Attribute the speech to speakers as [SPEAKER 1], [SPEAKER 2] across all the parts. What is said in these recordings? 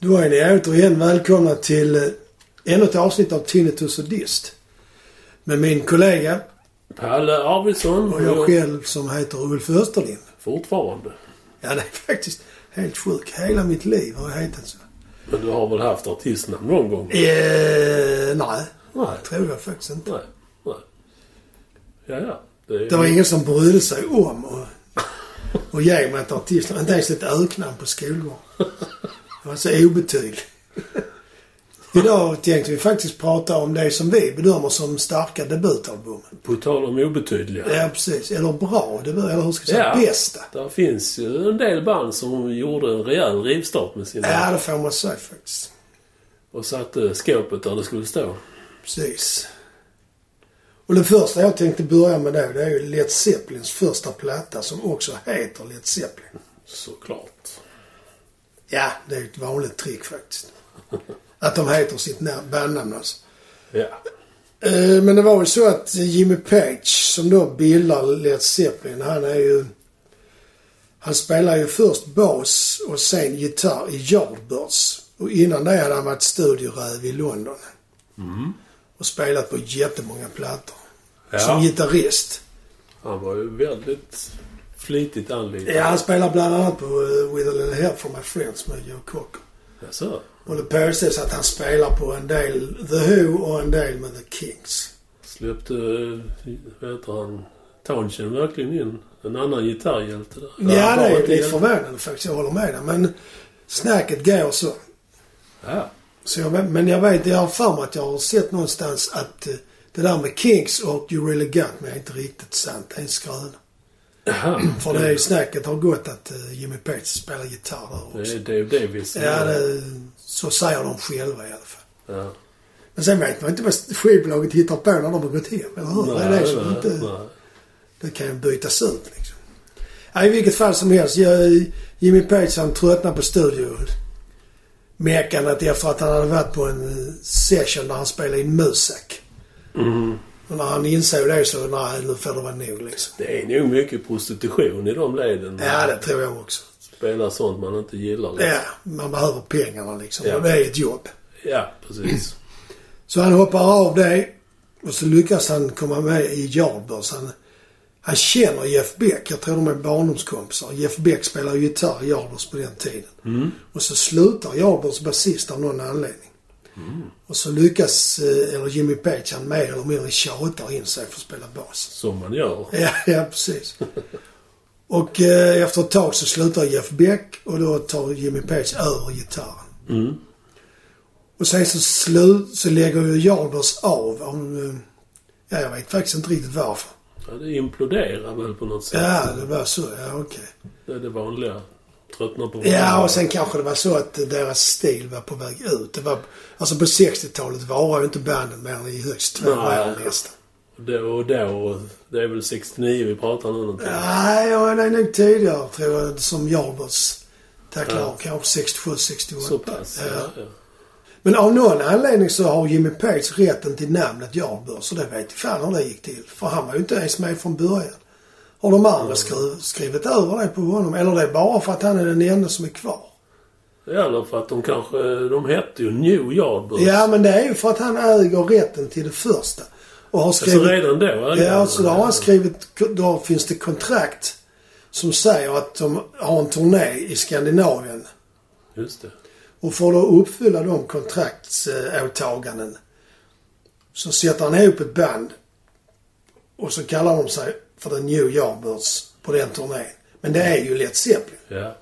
[SPEAKER 1] ni återigen välkomna till eh, ännu ett avsnitt av Tinnitus och Dist. Med min kollega
[SPEAKER 2] Palle Arvidsson. eh,
[SPEAKER 1] och jag själv som heter Ulf Österlind.
[SPEAKER 2] Fortfarande.
[SPEAKER 1] Ja, det är faktiskt helt sjukt. Hela mitt liv har jag hetat så.
[SPEAKER 2] Men du har väl haft artistnamn någon gång?
[SPEAKER 1] Eh, nej,
[SPEAKER 2] Nej.
[SPEAKER 1] tror jag faktiskt inte.
[SPEAKER 2] Nej. Nej. Ja, ja. Det är...
[SPEAKER 1] Det var ingen som brydde sig om och, och ge mig ett artistnamn. Inte ens ett öknamn på skolgården. Jag var så obetydlig. Idag tänkte vi faktiskt prata om det som vi bedömer som starka debutalbum.
[SPEAKER 2] På tal om obetydliga.
[SPEAKER 1] Ja, precis. Eller bra debut, eller hur ska jag säga?
[SPEAKER 2] Ja.
[SPEAKER 1] Bästa.
[SPEAKER 2] Där finns ju en del band som gjorde en rejäl rivstart med sina...
[SPEAKER 1] Ja, det får man säga faktiskt.
[SPEAKER 2] Och satte skåpet där det skulle stå.
[SPEAKER 1] Precis. Och det första jag tänkte börja med då, det är ju Led Zeppelins första platta som också heter Led Zeppelin.
[SPEAKER 2] Såklart.
[SPEAKER 1] Ja, det är ju ett vanligt trick faktiskt. Att de heter sitt nam- bandnamn alltså.
[SPEAKER 2] Ja.
[SPEAKER 1] Eh, Men det var ju så att Jimmy Page, som då bildar Led Zeppelin, han är ju... Han spelar ju först bas och sen gitarr i Yardbirds. Och innan det hade han varit studioräv i London. Och spelat på jättemånga plattor. Som
[SPEAKER 2] ja.
[SPEAKER 1] gitarrist.
[SPEAKER 2] Han var ju väldigt flitigt anlitad.
[SPEAKER 1] Ja, han spelar bland annat på eh, With a little help from my friends med Joe Cocker.
[SPEAKER 2] Jaså?
[SPEAKER 1] Och det påstås att han spelar på en del The Who och en del med The Kings.
[SPEAKER 2] Släppte, vad heter han, Townshend verkligen in en annan gitarrhjälte där?
[SPEAKER 1] Ja,
[SPEAKER 2] Han
[SPEAKER 1] det
[SPEAKER 2] var
[SPEAKER 1] är ju
[SPEAKER 2] inte
[SPEAKER 1] lite
[SPEAKER 2] hjälte.
[SPEAKER 1] förvånande faktiskt. Jag håller med dig. Men snacket går så.
[SPEAKER 2] Ja.
[SPEAKER 1] så jag, vet- men jag vet, jag har för mig att jag har sett någonstans att eh, det där med Kings och You Really Got Me är inte riktigt sant. Det är en skröna.
[SPEAKER 2] Jaha.
[SPEAKER 1] För det är ju snacket har gått att eh, Jimmy Page spelar gitarr där
[SPEAKER 2] Mm. Det
[SPEAKER 1] också.
[SPEAKER 2] är Dave Davis.
[SPEAKER 1] Ja, det, så säger de själva i alla fall.
[SPEAKER 2] Ja.
[SPEAKER 1] Men sen vet man inte vad skivbolaget hittar på när de har gått hem, eller hur? det är det som
[SPEAKER 2] nej,
[SPEAKER 1] inte...
[SPEAKER 2] nej.
[SPEAKER 1] Det kan ju bytas ut liksom. Ja, I vilket fall som helst. Jag, Jimmy Page han tröttnade på studio. Meckandet efter att han hade varit på en eh, session där han spelade in Musak. Och när han insåg det så, nej nu får det vara nog liksom.
[SPEAKER 2] Det är nog mycket prostitution i de leden.
[SPEAKER 1] Ja, det tror jag också.
[SPEAKER 2] Spela sånt man inte gillar.
[SPEAKER 1] Ja, man behöver pengarna liksom.
[SPEAKER 2] Ja.
[SPEAKER 1] Och det är ett jobb.
[SPEAKER 2] Ja, precis.
[SPEAKER 1] Så han hoppar av det och så lyckas han komma med i Yardbirds. Han, han känner Jeff Beck. Jag tror de är barndomskompisar. Jeff Beck spelade gitarr i Yardbirds på den tiden. Och så slutar Yardbirds basist av någon anledning. Och så lyckas, eh, eller Jimmy Page, han mer eller mindre tjatar in sig för att spela bas.
[SPEAKER 2] Som man gör.
[SPEAKER 1] Ja, ja precis. Och eh, efter ett tag så slutar Jeff Beck och då tar Jimmy Page över gitarren. Och sen så, slu- så lägger ju Jarlbergs av. Om, eh, ja, jag vet faktiskt inte riktigt varför.
[SPEAKER 2] Ja, det imploderar väl på något sätt.
[SPEAKER 1] Ja, det var så. Ja, okej.
[SPEAKER 2] Det är det vanliga. Tröttnar på
[SPEAKER 1] Ja,
[SPEAKER 2] varandra.
[SPEAKER 1] och sen kanske det var så att deras stil var på väg ut. Det var, alltså på 60-talet varade ju inte banden mer än i högst två
[SPEAKER 2] Nej.
[SPEAKER 1] år nästan.
[SPEAKER 2] Då och då. Det är väl 69 vi pratar nu någonting.
[SPEAKER 1] Nej, ja, det är nog tidigare tror jag som Jarlbergs tacklar av. Kanske 67, 68.
[SPEAKER 2] Så pass.
[SPEAKER 1] Ja.
[SPEAKER 2] Ja. Ja.
[SPEAKER 1] Men av någon anledning så har Jimmy Page rätten till namnet Jarlberg. Så det vet jag fan hur det gick till. För han var ju inte ens med från början. Har de
[SPEAKER 2] Mm.
[SPEAKER 1] andra skri- skrivit över det på honom? Eller det är bara för att han är den enda som är kvar?
[SPEAKER 2] Eller för att de kanske... De hette ju New Yardbirds.
[SPEAKER 1] Ja, men det är ju för att han äger rätten till det första. Och har
[SPEAKER 2] Så
[SPEAKER 1] skrivit...
[SPEAKER 2] Alltså redan då? är det-
[SPEAKER 1] Ja, så då har han skrivit, då finns det kontrakt som säger att de har en turné i Skandinavien.
[SPEAKER 2] Just det.
[SPEAKER 1] Och för att uppfylla de kontraktsåtaganden så sätter han ihop ett band och så kallar de sig för The New Yardbirds på den turnén. Men det är ju Led Zeppelin.
[SPEAKER 2] Ja.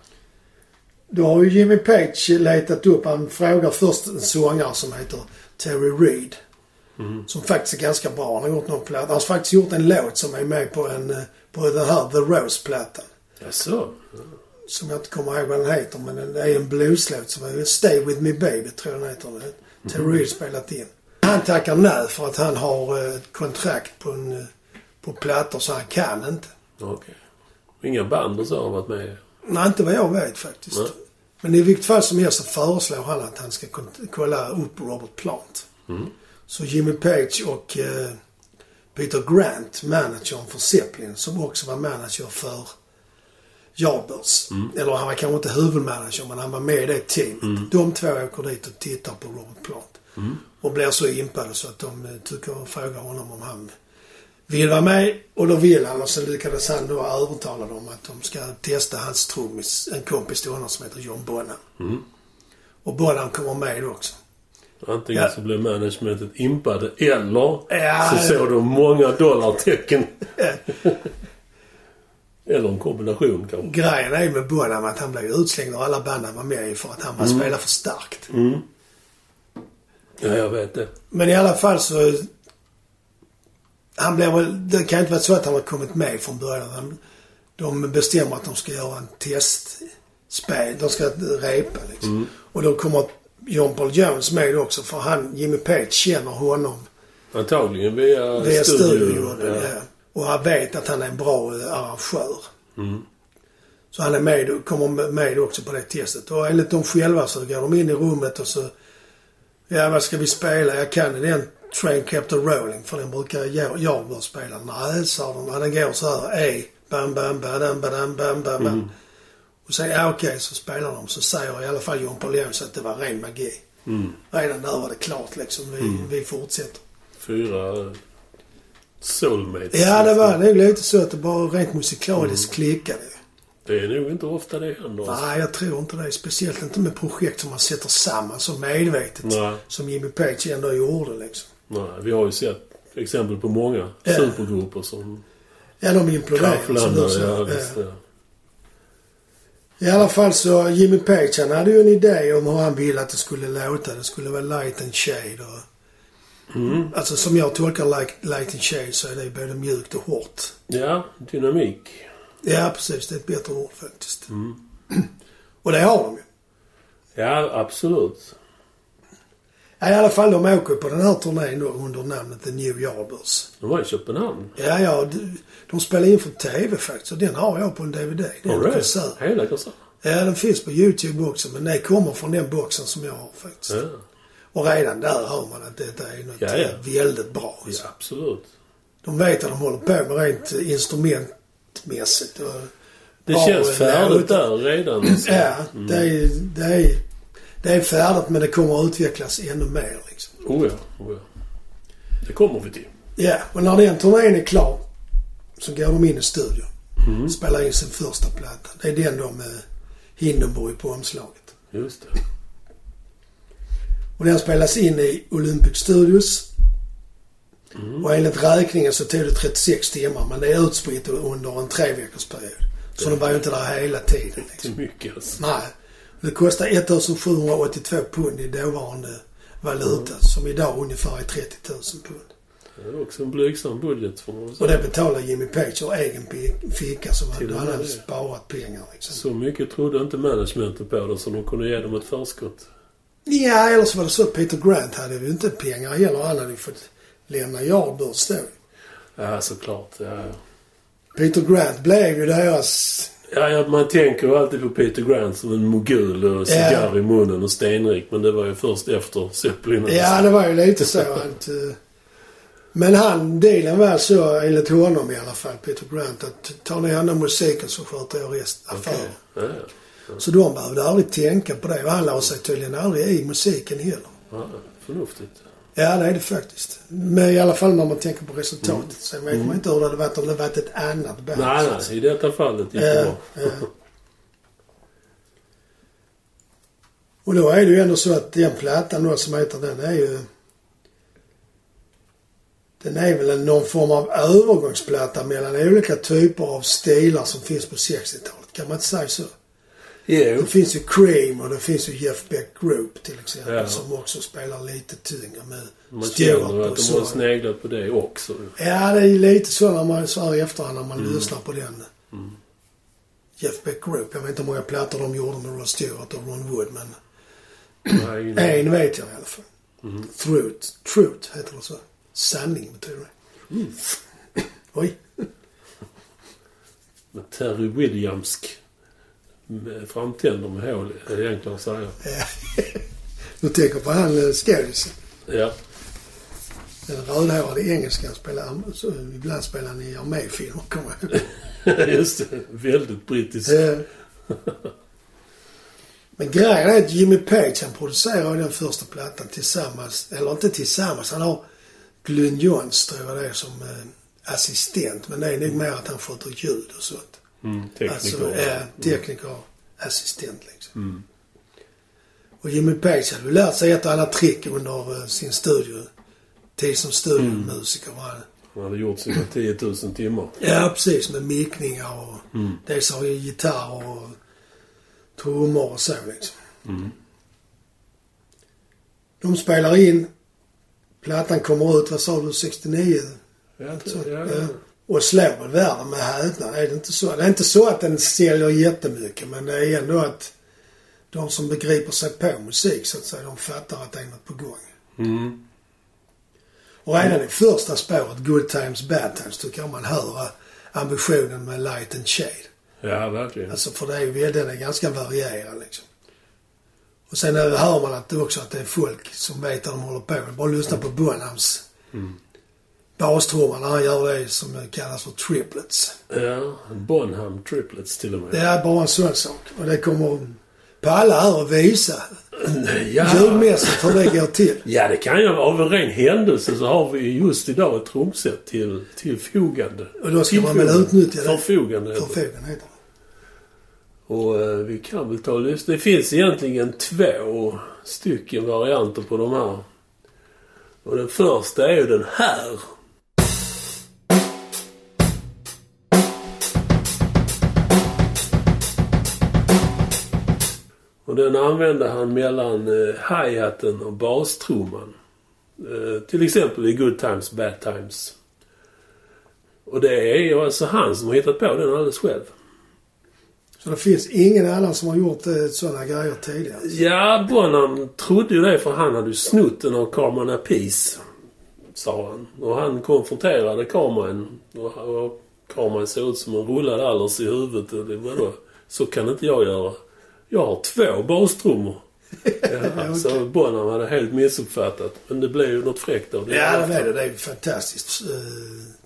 [SPEAKER 1] Då har ju Jimmy Page letat upp, han frågar först en sångare som heter Terry Reid. Som faktiskt är ganska bra. Han har gjort någon platta. Han har faktiskt gjort en låt som är med på, en, eh, på den här The Rose-plattan.
[SPEAKER 2] Jaså?
[SPEAKER 1] Som jag inte kommer ihåg vad den heter men den är en blueslåt som är Stay With Me Baby tror jag den heter. Mm. Terry Reid spelat in. Han tackar nej för att han har eh, ett kontrakt på, en, eh, på plattor så han kan inte.
[SPEAKER 2] Okej. Inga band och så har varit med?
[SPEAKER 1] Nej, inte vad jag vet faktiskt.
[SPEAKER 2] Nej.
[SPEAKER 1] Men i vilket fall som helst så föreslår han att han ska kon- kolla upp Robert Plant. Så Jimmy Page och eh, Peter Grant, managern för Zeppelin, som också var manager för Yardbirds. Eller han var kanske inte huvudmanager men han var med i det teamet. De två åker dit och tittar på Robert Plant. Och blir så impade så att de eh, tycker och frågar honom om han vill vara med. Och då vill han och sen lyckades han då övertala dem att de ska testa hans trummis, en kompis till honom som heter John Bonham. Och Bonham kommer med också.
[SPEAKER 2] Antingen
[SPEAKER 1] Ja.
[SPEAKER 2] så blev managementet impade eller
[SPEAKER 1] Ja.
[SPEAKER 2] så såg de många dollartecken.
[SPEAKER 1] Eh,
[SPEAKER 2] Eller en kombination kanske.
[SPEAKER 1] Grejen är med Bonham att han blev utslängd av alla band han var med i för att han var spelade för starkt.
[SPEAKER 2] Ja, jag vet det.
[SPEAKER 1] Men i alla fall så... Han blev väl... Det kan inte vara så att han har kommit med från början. Han, de bestämmer att de ska göra en testspel. De ska repa liksom. Och då kommer John Paul Jones med också för han, Jimmy Page, känner honom
[SPEAKER 2] Antagligen via,
[SPEAKER 1] via studion.
[SPEAKER 2] studion.
[SPEAKER 1] Ja. Och han vet att han är en bra eh, arrangör. Så han är med, kommer med också på det testet. Och enligt dem själva så går de in i rummet och så... Ja, vad ska vi spela? Jag kan den Train Kept a Rolling för den brukar jag, jag bör spela. Nej, sa de. Ja, den går så här. E, bam, bam, badam, badam, bam, bam, bam. Och sen, ja okej, så spelar de. Så säger i alla fall John Paul Jones att det var ren magi. Redan där var det klart liksom. Vi, vi fortsätter.
[SPEAKER 2] Fyra soulmates.
[SPEAKER 1] Ja, det var nog lite så att det bara rent
[SPEAKER 2] Mm.
[SPEAKER 1] musikaliskt klickade.
[SPEAKER 2] Det är nog inte ofta det händer. alltså.
[SPEAKER 1] Nej, jag tror inte det. Speciellt inte med projekt som man sätter samman så medvetet.
[SPEAKER 2] Nej.
[SPEAKER 1] Som Jimmy Page ändå gjorde liksom.
[SPEAKER 2] Nej, vi har ju sett exempel på många
[SPEAKER 1] Ja.
[SPEAKER 2] supergrupper som
[SPEAKER 1] Ja, de imploderade. som du
[SPEAKER 2] kraschlandar.
[SPEAKER 1] sa.
[SPEAKER 2] Ja,
[SPEAKER 1] Ja.
[SPEAKER 2] visst, ja.
[SPEAKER 1] I alla fall så, Jimmy Page han hade ju en idé om hur han ville att det skulle låta. Det skulle vara light and shade och...
[SPEAKER 2] Mm.
[SPEAKER 1] Alltså som jag tolkar like, light and shade så är det både mjukt och hårt.
[SPEAKER 2] ja, dynamik.
[SPEAKER 1] Ja, precis. Det är ett bättre ord faktiskt.
[SPEAKER 2] Mm.
[SPEAKER 1] Och det har de ju.
[SPEAKER 2] Ja, absolut.
[SPEAKER 1] Ja, I alla fall, de åker på den här turnén då under namnet The New Yardbirds.
[SPEAKER 2] De var i Köpenhamn.
[SPEAKER 1] Ja, ja, d- de spelar in för TV faktiskt. Och den har jag på en DVD. Det är en
[SPEAKER 2] Alright.
[SPEAKER 1] konsert.
[SPEAKER 2] Hela konserten.
[SPEAKER 1] Ja, den finns på YouTube också. Men det kommer från den boxen som jag har faktiskt.
[SPEAKER 2] Ja.
[SPEAKER 1] Och redan där hör man att detta är något
[SPEAKER 2] Ja, ja.
[SPEAKER 1] eh, väldigt bra. alltså.
[SPEAKER 2] ja, absolut.
[SPEAKER 1] De vet vad de håller på med rent eh, instrumentmässigt. Och,
[SPEAKER 2] Det
[SPEAKER 1] Ja,
[SPEAKER 2] känns
[SPEAKER 1] det är
[SPEAKER 2] färdigt
[SPEAKER 1] lite-
[SPEAKER 2] där Mm. redan. Alltså.
[SPEAKER 1] ja, det, är, det, är, det är färdigt men det kommer att utvecklas ännu mer liksom.
[SPEAKER 2] Oh ja, oh ja. Det kommer vi till.
[SPEAKER 1] Ja, och när den turnén är klar så går de in i studion. Spelar in sin första platta. Det är den då med Hindenburg på omslaget.
[SPEAKER 2] Just det.
[SPEAKER 1] Och den spelas in i Olympic Studios. Och enligt räkningen så tog det 36 timmar men det är utspritt under en treveckorsperiod. Så de var ju inte där hela tiden.
[SPEAKER 2] Det
[SPEAKER 1] Liksom.
[SPEAKER 2] är mycket alltså.
[SPEAKER 1] Nej. Det kostar 1782 pund i dåvarande valuta som idag ungefär är 30 000 pund.
[SPEAKER 2] Det är också en blygsam budget får man väl
[SPEAKER 1] Och
[SPEAKER 2] säga.
[SPEAKER 1] det betalade Jimmy Page ur egen pi- ficka som
[SPEAKER 2] Till
[SPEAKER 1] han,
[SPEAKER 2] och
[SPEAKER 1] han
[SPEAKER 2] med
[SPEAKER 1] hade
[SPEAKER 2] det.
[SPEAKER 1] sparat pengar liksom.
[SPEAKER 2] Så mycket trodde inte managementet på det så de kunde ge dem ett förskott.
[SPEAKER 1] Ja, eller så var det så att Peter Grant hade ju inte pengar heller. Han hade ju fått lämna Yardbirds då.
[SPEAKER 2] Ja, såklart. Ja, ja.
[SPEAKER 1] Peter Grant blev ju deras...
[SPEAKER 2] Ja, ja, man tänker ju alltid på Peter Grant som en mogul och cigarr i munnen och stenrik. Men det var ju först efter Zeppelin. alltså.
[SPEAKER 1] Ja, det var ju lite så att... eh, Men han, dealen var så, enligt honom i alla fall, Peter Grant, att tar ni hand om musiken så sköter jag resten, affären.
[SPEAKER 2] Ja, ja.
[SPEAKER 1] Så de behövde aldrig tänka på det och han la sig tydligen aldrig i musiken heller.
[SPEAKER 2] ja, förnuftigt.
[SPEAKER 1] Ja, det är det faktiskt. Men i alla fall när man tänker på resultatet. Sen vet man inte hur det hade varit om det varit ett annat band.
[SPEAKER 2] Mm. Nej,
[SPEAKER 1] så att
[SPEAKER 2] nej, i detta fallet gick
[SPEAKER 1] säga.
[SPEAKER 2] det
[SPEAKER 1] Ja,
[SPEAKER 2] bra.
[SPEAKER 1] ja. Och då är det ju ändå så att den plattan då som heter den är ju... Den är väl en- någon form av övergångsplatta mellan olika typer av stilar som finns på 60-talet. Kan man inte säga så?
[SPEAKER 2] Jo,
[SPEAKER 1] Det finns ju Cream och det finns ju Jeff Beck Group till exempel
[SPEAKER 2] Ja.
[SPEAKER 1] som också spelar lite tyngre med
[SPEAKER 2] man känner
[SPEAKER 1] och
[SPEAKER 2] att de har
[SPEAKER 1] sång.
[SPEAKER 2] sneglat på det också.
[SPEAKER 1] Ja, det är ju lite så när man så här i efterhand när man
[SPEAKER 2] Mm.
[SPEAKER 1] lyssnar på den. Jeff Beck Group. Jag vet inte hur många plattor de gjorde med Rod Stewart och Ron Wood, men
[SPEAKER 2] Nej, nej.
[SPEAKER 1] en vet jag i alla fall.
[SPEAKER 2] Mm.
[SPEAKER 1] Truth. Truth heter det så. Sanning betyder det.
[SPEAKER 2] Mm.
[SPEAKER 1] Oj.
[SPEAKER 2] Men Terry Williamsk med framtänder med hål, är det egentligen att säga.
[SPEAKER 1] Du tänker på han eh, skådisen.
[SPEAKER 2] Ja.
[SPEAKER 1] Den rödhårade engelskan spelar, så ibland spelar han i arméfilmer, kommer jag ihåg.
[SPEAKER 2] Just det. Väldigt brittiskt.
[SPEAKER 1] Eh, Men grejen är att Jimmy Page han producerar den första plattan tillsammans, eller inte tillsammans, han har Glyn Johns tror jag det är som eh, assistent. Men det är nog mer att han sköter ljud och sånt.
[SPEAKER 2] Mm, tekniker.
[SPEAKER 1] Alltså eh, tekniker, assistent liksom. Och Jimmy Page hade ju lärt sig ett och annat trick under eh, sin studio. Tid som studiomusiker. Mm.
[SPEAKER 2] Han hade gjort sina 10 000 timmar.
[SPEAKER 1] Ja, precis. Med mickningar och dels har ju gitarr och trummor och så liksom. De spelar in. Plattan kommer ut, vad sa du, 69?
[SPEAKER 2] Ja,
[SPEAKER 1] Så,
[SPEAKER 2] ja, ja.
[SPEAKER 1] ja. Och slår väl världen med häpnad. Är det inte så? Det är inte så att den säljer jättemycket men det är ändå att de som begriper sig på musik så att säga, de fattar att det är något på gång.
[SPEAKER 2] Mm.
[SPEAKER 1] Och redan i första spåret, Good Times Bad Times, tycker jag man hör ambitionen med Light and Shade.
[SPEAKER 2] ja verkligen.
[SPEAKER 1] Alltså för det är ju, den är ganska varierad liksom. Och sen är det- hör man att det också att det är folk som vet vad de håller på med. Bara lyssna på Bonhams bastrumma när han gör det som kallas för triplets.
[SPEAKER 2] Ja, Bonham Triplets till och
[SPEAKER 1] Det
[SPEAKER 2] med.
[SPEAKER 1] är bara en sån sak. Och det kommer Palle här och visa
[SPEAKER 2] Ja.
[SPEAKER 1] ljudmässigt hur det går till.
[SPEAKER 2] ja, det kan jag. Av en ren händelse så har vi ju just idag ett trumset till, till fogande.
[SPEAKER 1] Och då ska man väl
[SPEAKER 2] Tillfogande.
[SPEAKER 1] utnyttja det.
[SPEAKER 2] Förfogande.
[SPEAKER 1] Förfogenheten.
[SPEAKER 2] Och eh, vi kan väl ta och lyssna. Det finns egentligen två stycken varianter på de här. Och den första är ju den här. Och den använde han mellan eh, hi-haten och bastrumman. Eh, till exempel i Good Times, Bad Times. Och det är ju alltså han som har hittat på den alldeles själv.
[SPEAKER 1] Så det finns ingen annan som har gjort eh, sådana grejer tidigare.
[SPEAKER 2] Ja, Bonham trodde ju det för han hade ju snott den av Carmen Apis. Sa han. Och han konfronterade Carmen. Och, och Carmen såg ut som en rullad allers i huvudet. Och det, vadå? Så kan inte jag göra. Jag har två bastrummor. Ja, Så Bonham hade helt missuppfattat. Men det blev ju något fräckt av det.
[SPEAKER 1] Ja, det blev det. Det är ett fantastiskt eh,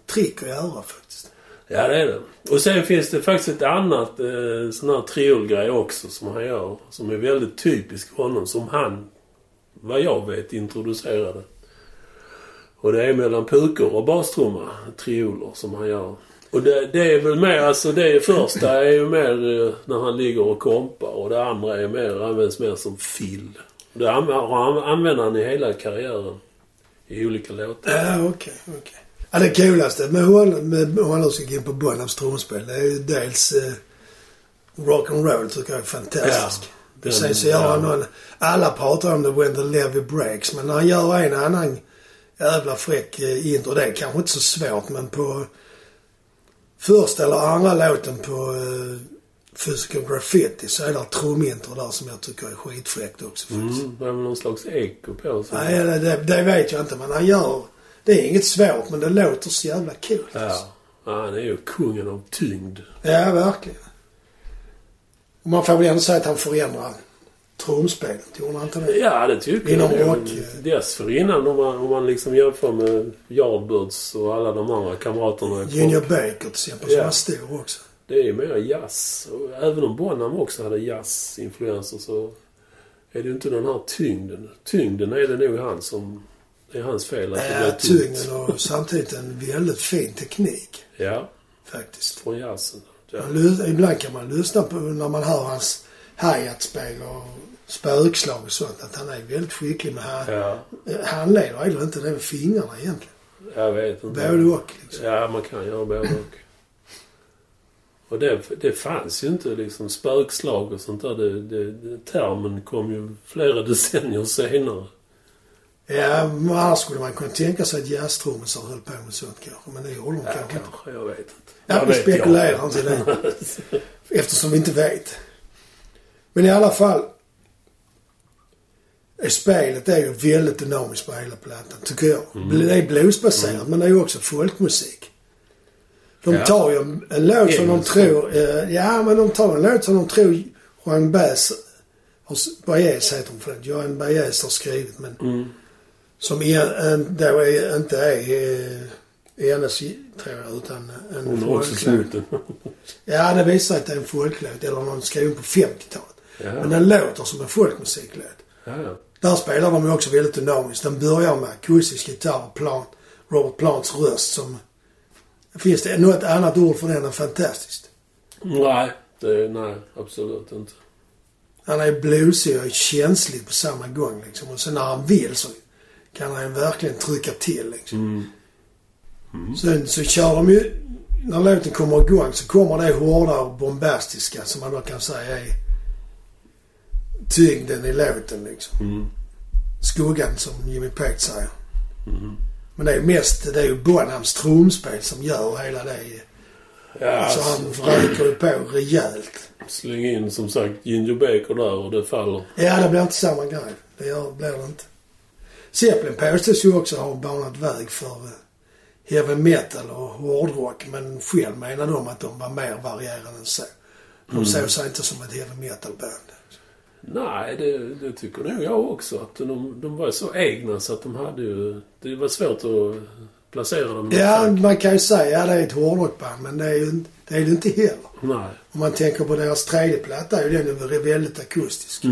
[SPEAKER 1] trick att göra faktiskt.
[SPEAKER 2] Ja, det är det. Och sen finns det faktiskt ett annat eh, sån här triolgrej också som han gör. Som är väldigt typisk för honom. Som han, vad jag vet, introducerade. Och det är mellan pukor och bastrumma. Trioler som han gör. Och det, det är väl mer, alltså det första är ju mer eh, när han ligger och kompar. Och det andra är mer, används mer som fill. Det anv- har- använder han i hela karriären. I olika låtar.
[SPEAKER 1] Ja, okej, okej. Ja, det coolaste med honom, med, om man nu ska gå in på Bonhams trumspel, det är ju dels eh, rock'n'roll tycker jag är fantastisk.
[SPEAKER 2] Ja, den-
[SPEAKER 1] och sen så gör han
[SPEAKER 2] ja.
[SPEAKER 1] någon, alla pratar om det, When the Levy Breaks, men när han gör en annan jävla fräck eh, intro, det är kanske inte så svårt, men på första eller andra låten på eh, Physical Graffiti så är det ett trumintro där som jag tycker är skitfräckt också faktiskt.
[SPEAKER 2] Mm, det är väl någon slags eko på sig.
[SPEAKER 1] Nej, det, det, det vet jag inte. Men han gör... Det är inget svårt, men det låter så jävla kul.
[SPEAKER 2] Ja.
[SPEAKER 1] alltså.
[SPEAKER 2] ja, han är ju kungen av tyngd.
[SPEAKER 1] ja verkligen. Och man får väl ändå säga att han förändrar trumspelet. Gjorde han inte det?
[SPEAKER 2] Ja, det tycker
[SPEAKER 1] Inom
[SPEAKER 2] jag.
[SPEAKER 1] rock.
[SPEAKER 2] Dessförinnan, om man, om man liksom jämför med Yardbirds och alla de andra kamraterna. i
[SPEAKER 1] Junior
[SPEAKER 2] rock,
[SPEAKER 1] Baker till exempel,
[SPEAKER 2] Ja.
[SPEAKER 1] som var stor också.
[SPEAKER 2] Det är ju mer jazz. Och även om Bonham också hade jazzinfluenser så är det ju inte den här tyngden. Tyngden är det nog han som... Det är hans fel att det
[SPEAKER 1] Ja,
[SPEAKER 2] blev tungt.
[SPEAKER 1] tyngden och samtidigt en väldigt fin teknik
[SPEAKER 2] Ja,
[SPEAKER 1] faktiskt.
[SPEAKER 2] från jazzen. Ja.
[SPEAKER 1] Man lys- Ibland kan man lyssna på när man hör hans hi-hat-spel och spökslag och sånt. Att han är väldigt skicklig med hand-
[SPEAKER 2] ja,
[SPEAKER 1] handleder. Eller inte, det är fingrarna egentligen.
[SPEAKER 2] jag vet inte.
[SPEAKER 1] Både och liksom.
[SPEAKER 2] Ja, man kan göra både och. Och det, det fanns ju inte liksom spökslag och sånt där. Det, det, det, termen kom ju flera decennier senare.
[SPEAKER 1] Ja, men annars skulle man kunna tänka sig att jazztrummisar höll på med sånt kanske. Men det gjorde de
[SPEAKER 2] Ja,
[SPEAKER 1] kanske inte.
[SPEAKER 2] kanske. Jag vet inte.
[SPEAKER 1] Ja,
[SPEAKER 2] Jag
[SPEAKER 1] vi
[SPEAKER 2] vet
[SPEAKER 1] spekulerar inte i det. Eftersom vi inte vet. Men i alla fall. eh, Spelet är ju väldigt dynamiskt på hela plattan, tycker jag.
[SPEAKER 2] Mm.
[SPEAKER 1] Det är bluesbaserat, men det är ju också folkmusik. De
[SPEAKER 2] Ja.
[SPEAKER 1] tar ju en, en låt som de
[SPEAKER 2] Engelsk.
[SPEAKER 1] tror... Eh, ja, men de tar en låt som de tror
[SPEAKER 2] Mm.
[SPEAKER 1] Juan Baez... har s- Baez heter hon förlåt. Johan Baez har skrivit, men... Som en, en, då är, inte är eh, hennes, tror jag, utan en
[SPEAKER 2] Hon har också
[SPEAKER 1] folklåt.
[SPEAKER 2] snott den.
[SPEAKER 1] Ja, det visar sig att det är en folklåt eller någon skriven på 50-talet. Men
[SPEAKER 2] ja.
[SPEAKER 1] den låter som en folkmusiklåt.
[SPEAKER 2] Ja, ja.
[SPEAKER 1] Där spelar de ju också väldigt dynamiskt. Den börjar med akustisk gitarr och Plant, Robert Plants röst som... Finns det något annat ord för den än fantastiskt?
[SPEAKER 2] Nej, det, nej, absolut inte.
[SPEAKER 1] Han är bluesig och känslig på samma gång liksom. Och sen när han vill så kan han verkligen trycka till liksom.
[SPEAKER 2] Mm.
[SPEAKER 1] Sen så kör de ju... När låten kommer igång så kommer det hårda och bombastiska som man då kan säga är tyngden i låten liksom.
[SPEAKER 2] Mm.
[SPEAKER 1] Skuggan som Jimmy Pate säger.
[SPEAKER 2] Mm.
[SPEAKER 1] Men det är ju mest, det är ju Bonhams trumspel som gör hela det.
[SPEAKER 2] Ja,
[SPEAKER 1] Alltså han röker ju på rejält.
[SPEAKER 2] Släng in som sagt Ginger Baker där och det faller.
[SPEAKER 1] Ja, det blir inte samma grej. Det gör, blir det inte. Zeppelin påstås ju också ha banat väg för eh, heavy metal och hårdrock. Men själv menar de att de var mer varierande än så. De såg sig inte som ett heavy metal-band. Mm.
[SPEAKER 2] Nej, det, det tycker nog jag också. Att de, de var så egna så att de hade ju... Det var svårt att placera dem. i
[SPEAKER 1] Ja,
[SPEAKER 2] fack.
[SPEAKER 1] man kan ju säga att det är ett hårdrockband, men det är ju inte- det är det inte heller.
[SPEAKER 2] Nej.
[SPEAKER 1] Om man tänker på deras tredje platta är ju den är väldigt akustisk.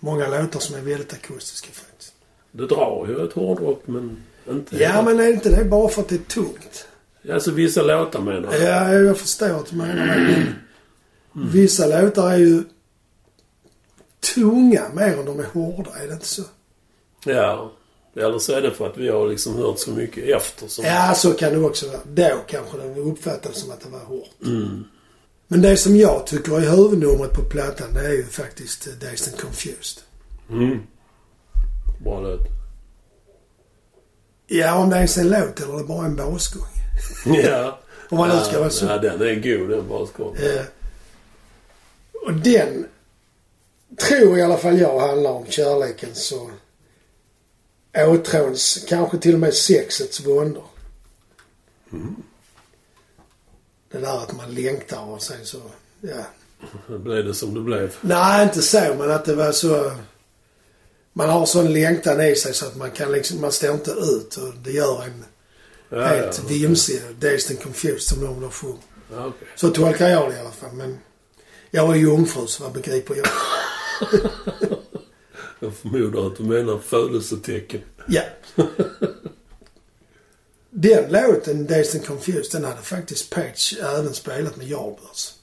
[SPEAKER 1] Många låtar som är väldigt akustiska faktiskt.
[SPEAKER 2] Det drar ju ett hårdrock, men inte...
[SPEAKER 1] Ja, men är inte det bara för att det är tungt?
[SPEAKER 2] Alltså vissa låtar menar jag.
[SPEAKER 1] Ja, jag förstår att du menar det. Men vissa låtar är ju tunga mer än de är hårda, är det inte så?
[SPEAKER 2] Ja. Eller så är det för att vi har liksom hört så mycket efter som...
[SPEAKER 1] Ja, så kan det också vara. Då kanske det uppfattades som att det var hårt. Men det som jag tycker är huvudnumret på plattan, det är ju faktiskt eh, Dazed and Confused.
[SPEAKER 2] Mm. Bra låt.
[SPEAKER 1] Ja, om det är ens är en låt eller det är bara en basgång.
[SPEAKER 2] Ja.
[SPEAKER 1] Om man nu ska vara så.
[SPEAKER 2] Ja, den är god den basgången.
[SPEAKER 1] Eh, och den tror i alla fall jag handlar om kärlekens och åtråns, kanske till och med sexets våndor. Mm. Det där att man längtar och sen så, ja.
[SPEAKER 2] Nu blev det som det blev.
[SPEAKER 1] Nej, inte så, men att det var så... Man har sån längtan i sig så att man kan liksom, man står inte ut och det gör en
[SPEAKER 2] Ja,
[SPEAKER 1] helt
[SPEAKER 2] ja.
[SPEAKER 1] vimsig, dazed and confused som de då sjunger.
[SPEAKER 2] Ja, okej.
[SPEAKER 1] Så tolkar jag det i alla fall. Men jag är jungfru så vad begriper jag?
[SPEAKER 2] Jag förmodar att du menar födelsetecken.
[SPEAKER 1] Ja. Den låten, Dazed and Confused, den hade faktiskt Page även spelat med Yardbirds.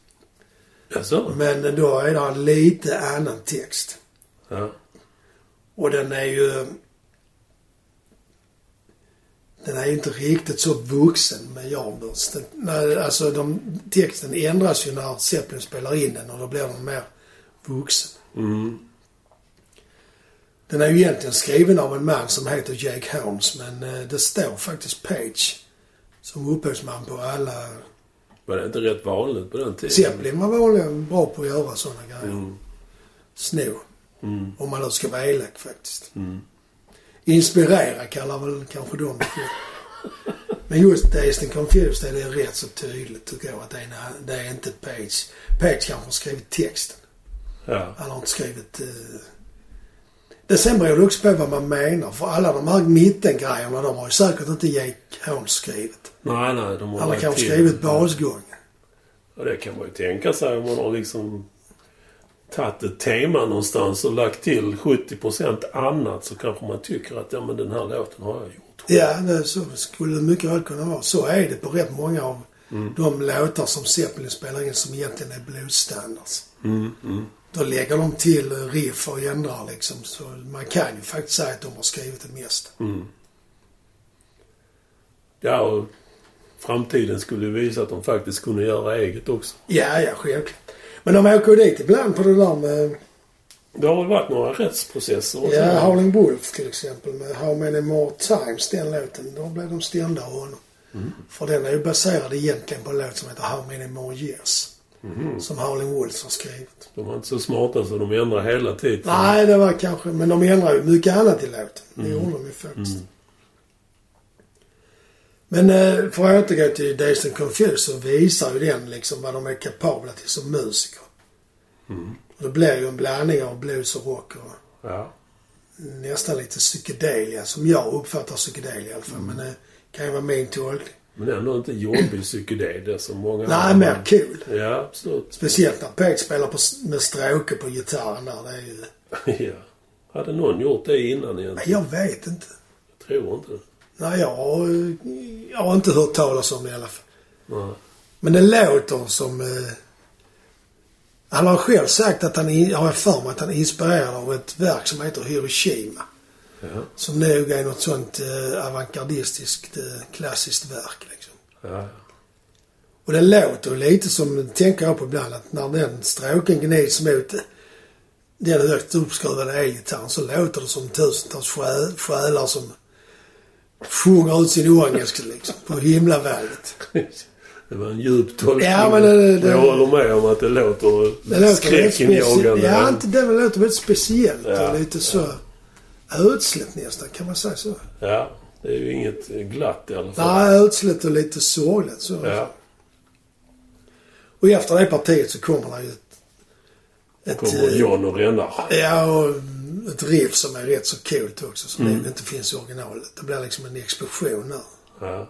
[SPEAKER 2] Jaså?
[SPEAKER 1] Men då är det en lite annan text.
[SPEAKER 2] Ja.
[SPEAKER 1] Och den är ju... Den är inte riktigt så vuxen med Yardbirds. Den- när- Alltså de, texten ändras ju när Zeppelin spelar in den och då blir den mer vuxen.
[SPEAKER 2] Mm.
[SPEAKER 1] Den är ju egentligen skriven av en man som heter Jake Holmes men eh, det står faktiskt Page som upphovsman på alla.
[SPEAKER 2] Var det inte rätt vanligt på den tiden?
[SPEAKER 1] Zeppelin var vanligen bra på att göra sådana grejer.
[SPEAKER 2] Mm.
[SPEAKER 1] Sno.
[SPEAKER 2] Mm.
[SPEAKER 1] Om man nu ska vara elak faktiskt.
[SPEAKER 2] Mm.
[SPEAKER 1] Inspirera kallar väl kanske de det för. Men just Dazed and Confused är det rätt så tydligt tycker jag att det är, en- det är inte Page. Page kanske har skrivit texten.
[SPEAKER 2] Ja.
[SPEAKER 1] Han har inte skrivit... Eh... Det sen beror det också på vad man menar. För alla de här mittengrejerna, de har ju säkert inte Jake Holmes skrivit.
[SPEAKER 2] Nej, nej. De har
[SPEAKER 1] Han har
[SPEAKER 2] lagt
[SPEAKER 1] kanske
[SPEAKER 2] till-
[SPEAKER 1] skrivit basgång.
[SPEAKER 2] Ja, det kan man ju tänka sig om man har liksom tagit ett tema någonstans och lagt till 70% annat så kanske man tycker att ja, men den här låten har jag gjort.
[SPEAKER 1] Ja, det, så skulle det mycket väl kunna vara. Så är det på rätt många av de låtar som Zeppelin spelar in som egentligen är bluesstandards.
[SPEAKER 2] Mm, mm.
[SPEAKER 1] Då lägger de till eh, riff och ändrar liksom. Så man kan ju faktiskt säga att de har skrivit det mesta.
[SPEAKER 2] Ja, och framtiden skulle ju visa att de faktiskt kunde göra eget också.
[SPEAKER 1] Ja, ja, självklart. Men de åker ju dit ibland på det där med
[SPEAKER 2] Det har väl varit några rättsprocesser och
[SPEAKER 1] Ja,
[SPEAKER 2] sådär.
[SPEAKER 1] Howling Wolf till exempel med How Many More Times, den låten. Då blev de stämda av honom. För den är ju baserad egentligen på en låt som heter How Many More Years. Som Howling Wolf har skrivit.
[SPEAKER 2] De var inte så smarta så de ändrar hela tiden.
[SPEAKER 1] Nej, det var kanske... Men de ändrar ju mycket annat i låten. Det gjorde de ju faktiskt. Men eh, för att återgå till Dazed and Confused så visar ju den liksom vad de är kapabla till som musiker. Och det blir ju en blandning av blues och rock och
[SPEAKER 2] Ja.
[SPEAKER 1] nästan lite psykedelia, som jag uppfattar psykedelia i alla fall. Men det kan ju vara min tolkning.
[SPEAKER 2] Men ändå inte jobbig psykedelia som många
[SPEAKER 1] Nej,
[SPEAKER 2] andra.
[SPEAKER 1] mer kul.
[SPEAKER 2] Ja, absolut.
[SPEAKER 1] Speciellt när Pete spelar på, med stråke på gitarren där. Det är ju...
[SPEAKER 2] ja. Hade någon gjort det innan
[SPEAKER 1] Nej,
[SPEAKER 2] egentligen?
[SPEAKER 1] Jag vet inte.
[SPEAKER 2] Jag tror inte det.
[SPEAKER 1] Nej, jag, har- jag har inte hört talas om det i alla fall.
[SPEAKER 2] Nej.
[SPEAKER 1] Men det låter som... Eh, han har själv sagt att han, in- har jag för mig, att han är inspirerad av ett verk som heter Hiroshima.
[SPEAKER 2] Ja.
[SPEAKER 1] Som nog är något sånt eh, avantgardistiskt eh, klassiskt verk. Liksom.
[SPEAKER 2] Ja.
[SPEAKER 1] Och det låter lite som, tänker jag på ibland, att när den stråken gnids mot den högt uppskruvade elgitarren så låter det som tusentals själ, själar som sjunger ut sin ångest liksom, på himlavalvet.
[SPEAKER 2] Det var en djup tolkning.
[SPEAKER 1] Ja, men det- det-
[SPEAKER 2] jag håller med om att det låter,
[SPEAKER 1] Det låter väldigt
[SPEAKER 2] skräckinjagande.
[SPEAKER 1] speciellt. Ja, inte det, men det låter väldigt speciellt
[SPEAKER 2] Ja,
[SPEAKER 1] och lite så ödsligt nästan. Kan man säga så?
[SPEAKER 2] Ja, det är ju inget glatt i alla fall.
[SPEAKER 1] Nej, ödsligt och lite sorgligt. Så.
[SPEAKER 2] Ja,
[SPEAKER 1] Och efter det partiet så kommer det ju ett... ett
[SPEAKER 2] kommer
[SPEAKER 1] eh,
[SPEAKER 2] John och rännar.
[SPEAKER 1] Ja, och ett riff som är rätt så coolt också som nog inte finns i originalet. Det blir liksom en explosion där.
[SPEAKER 2] Ja.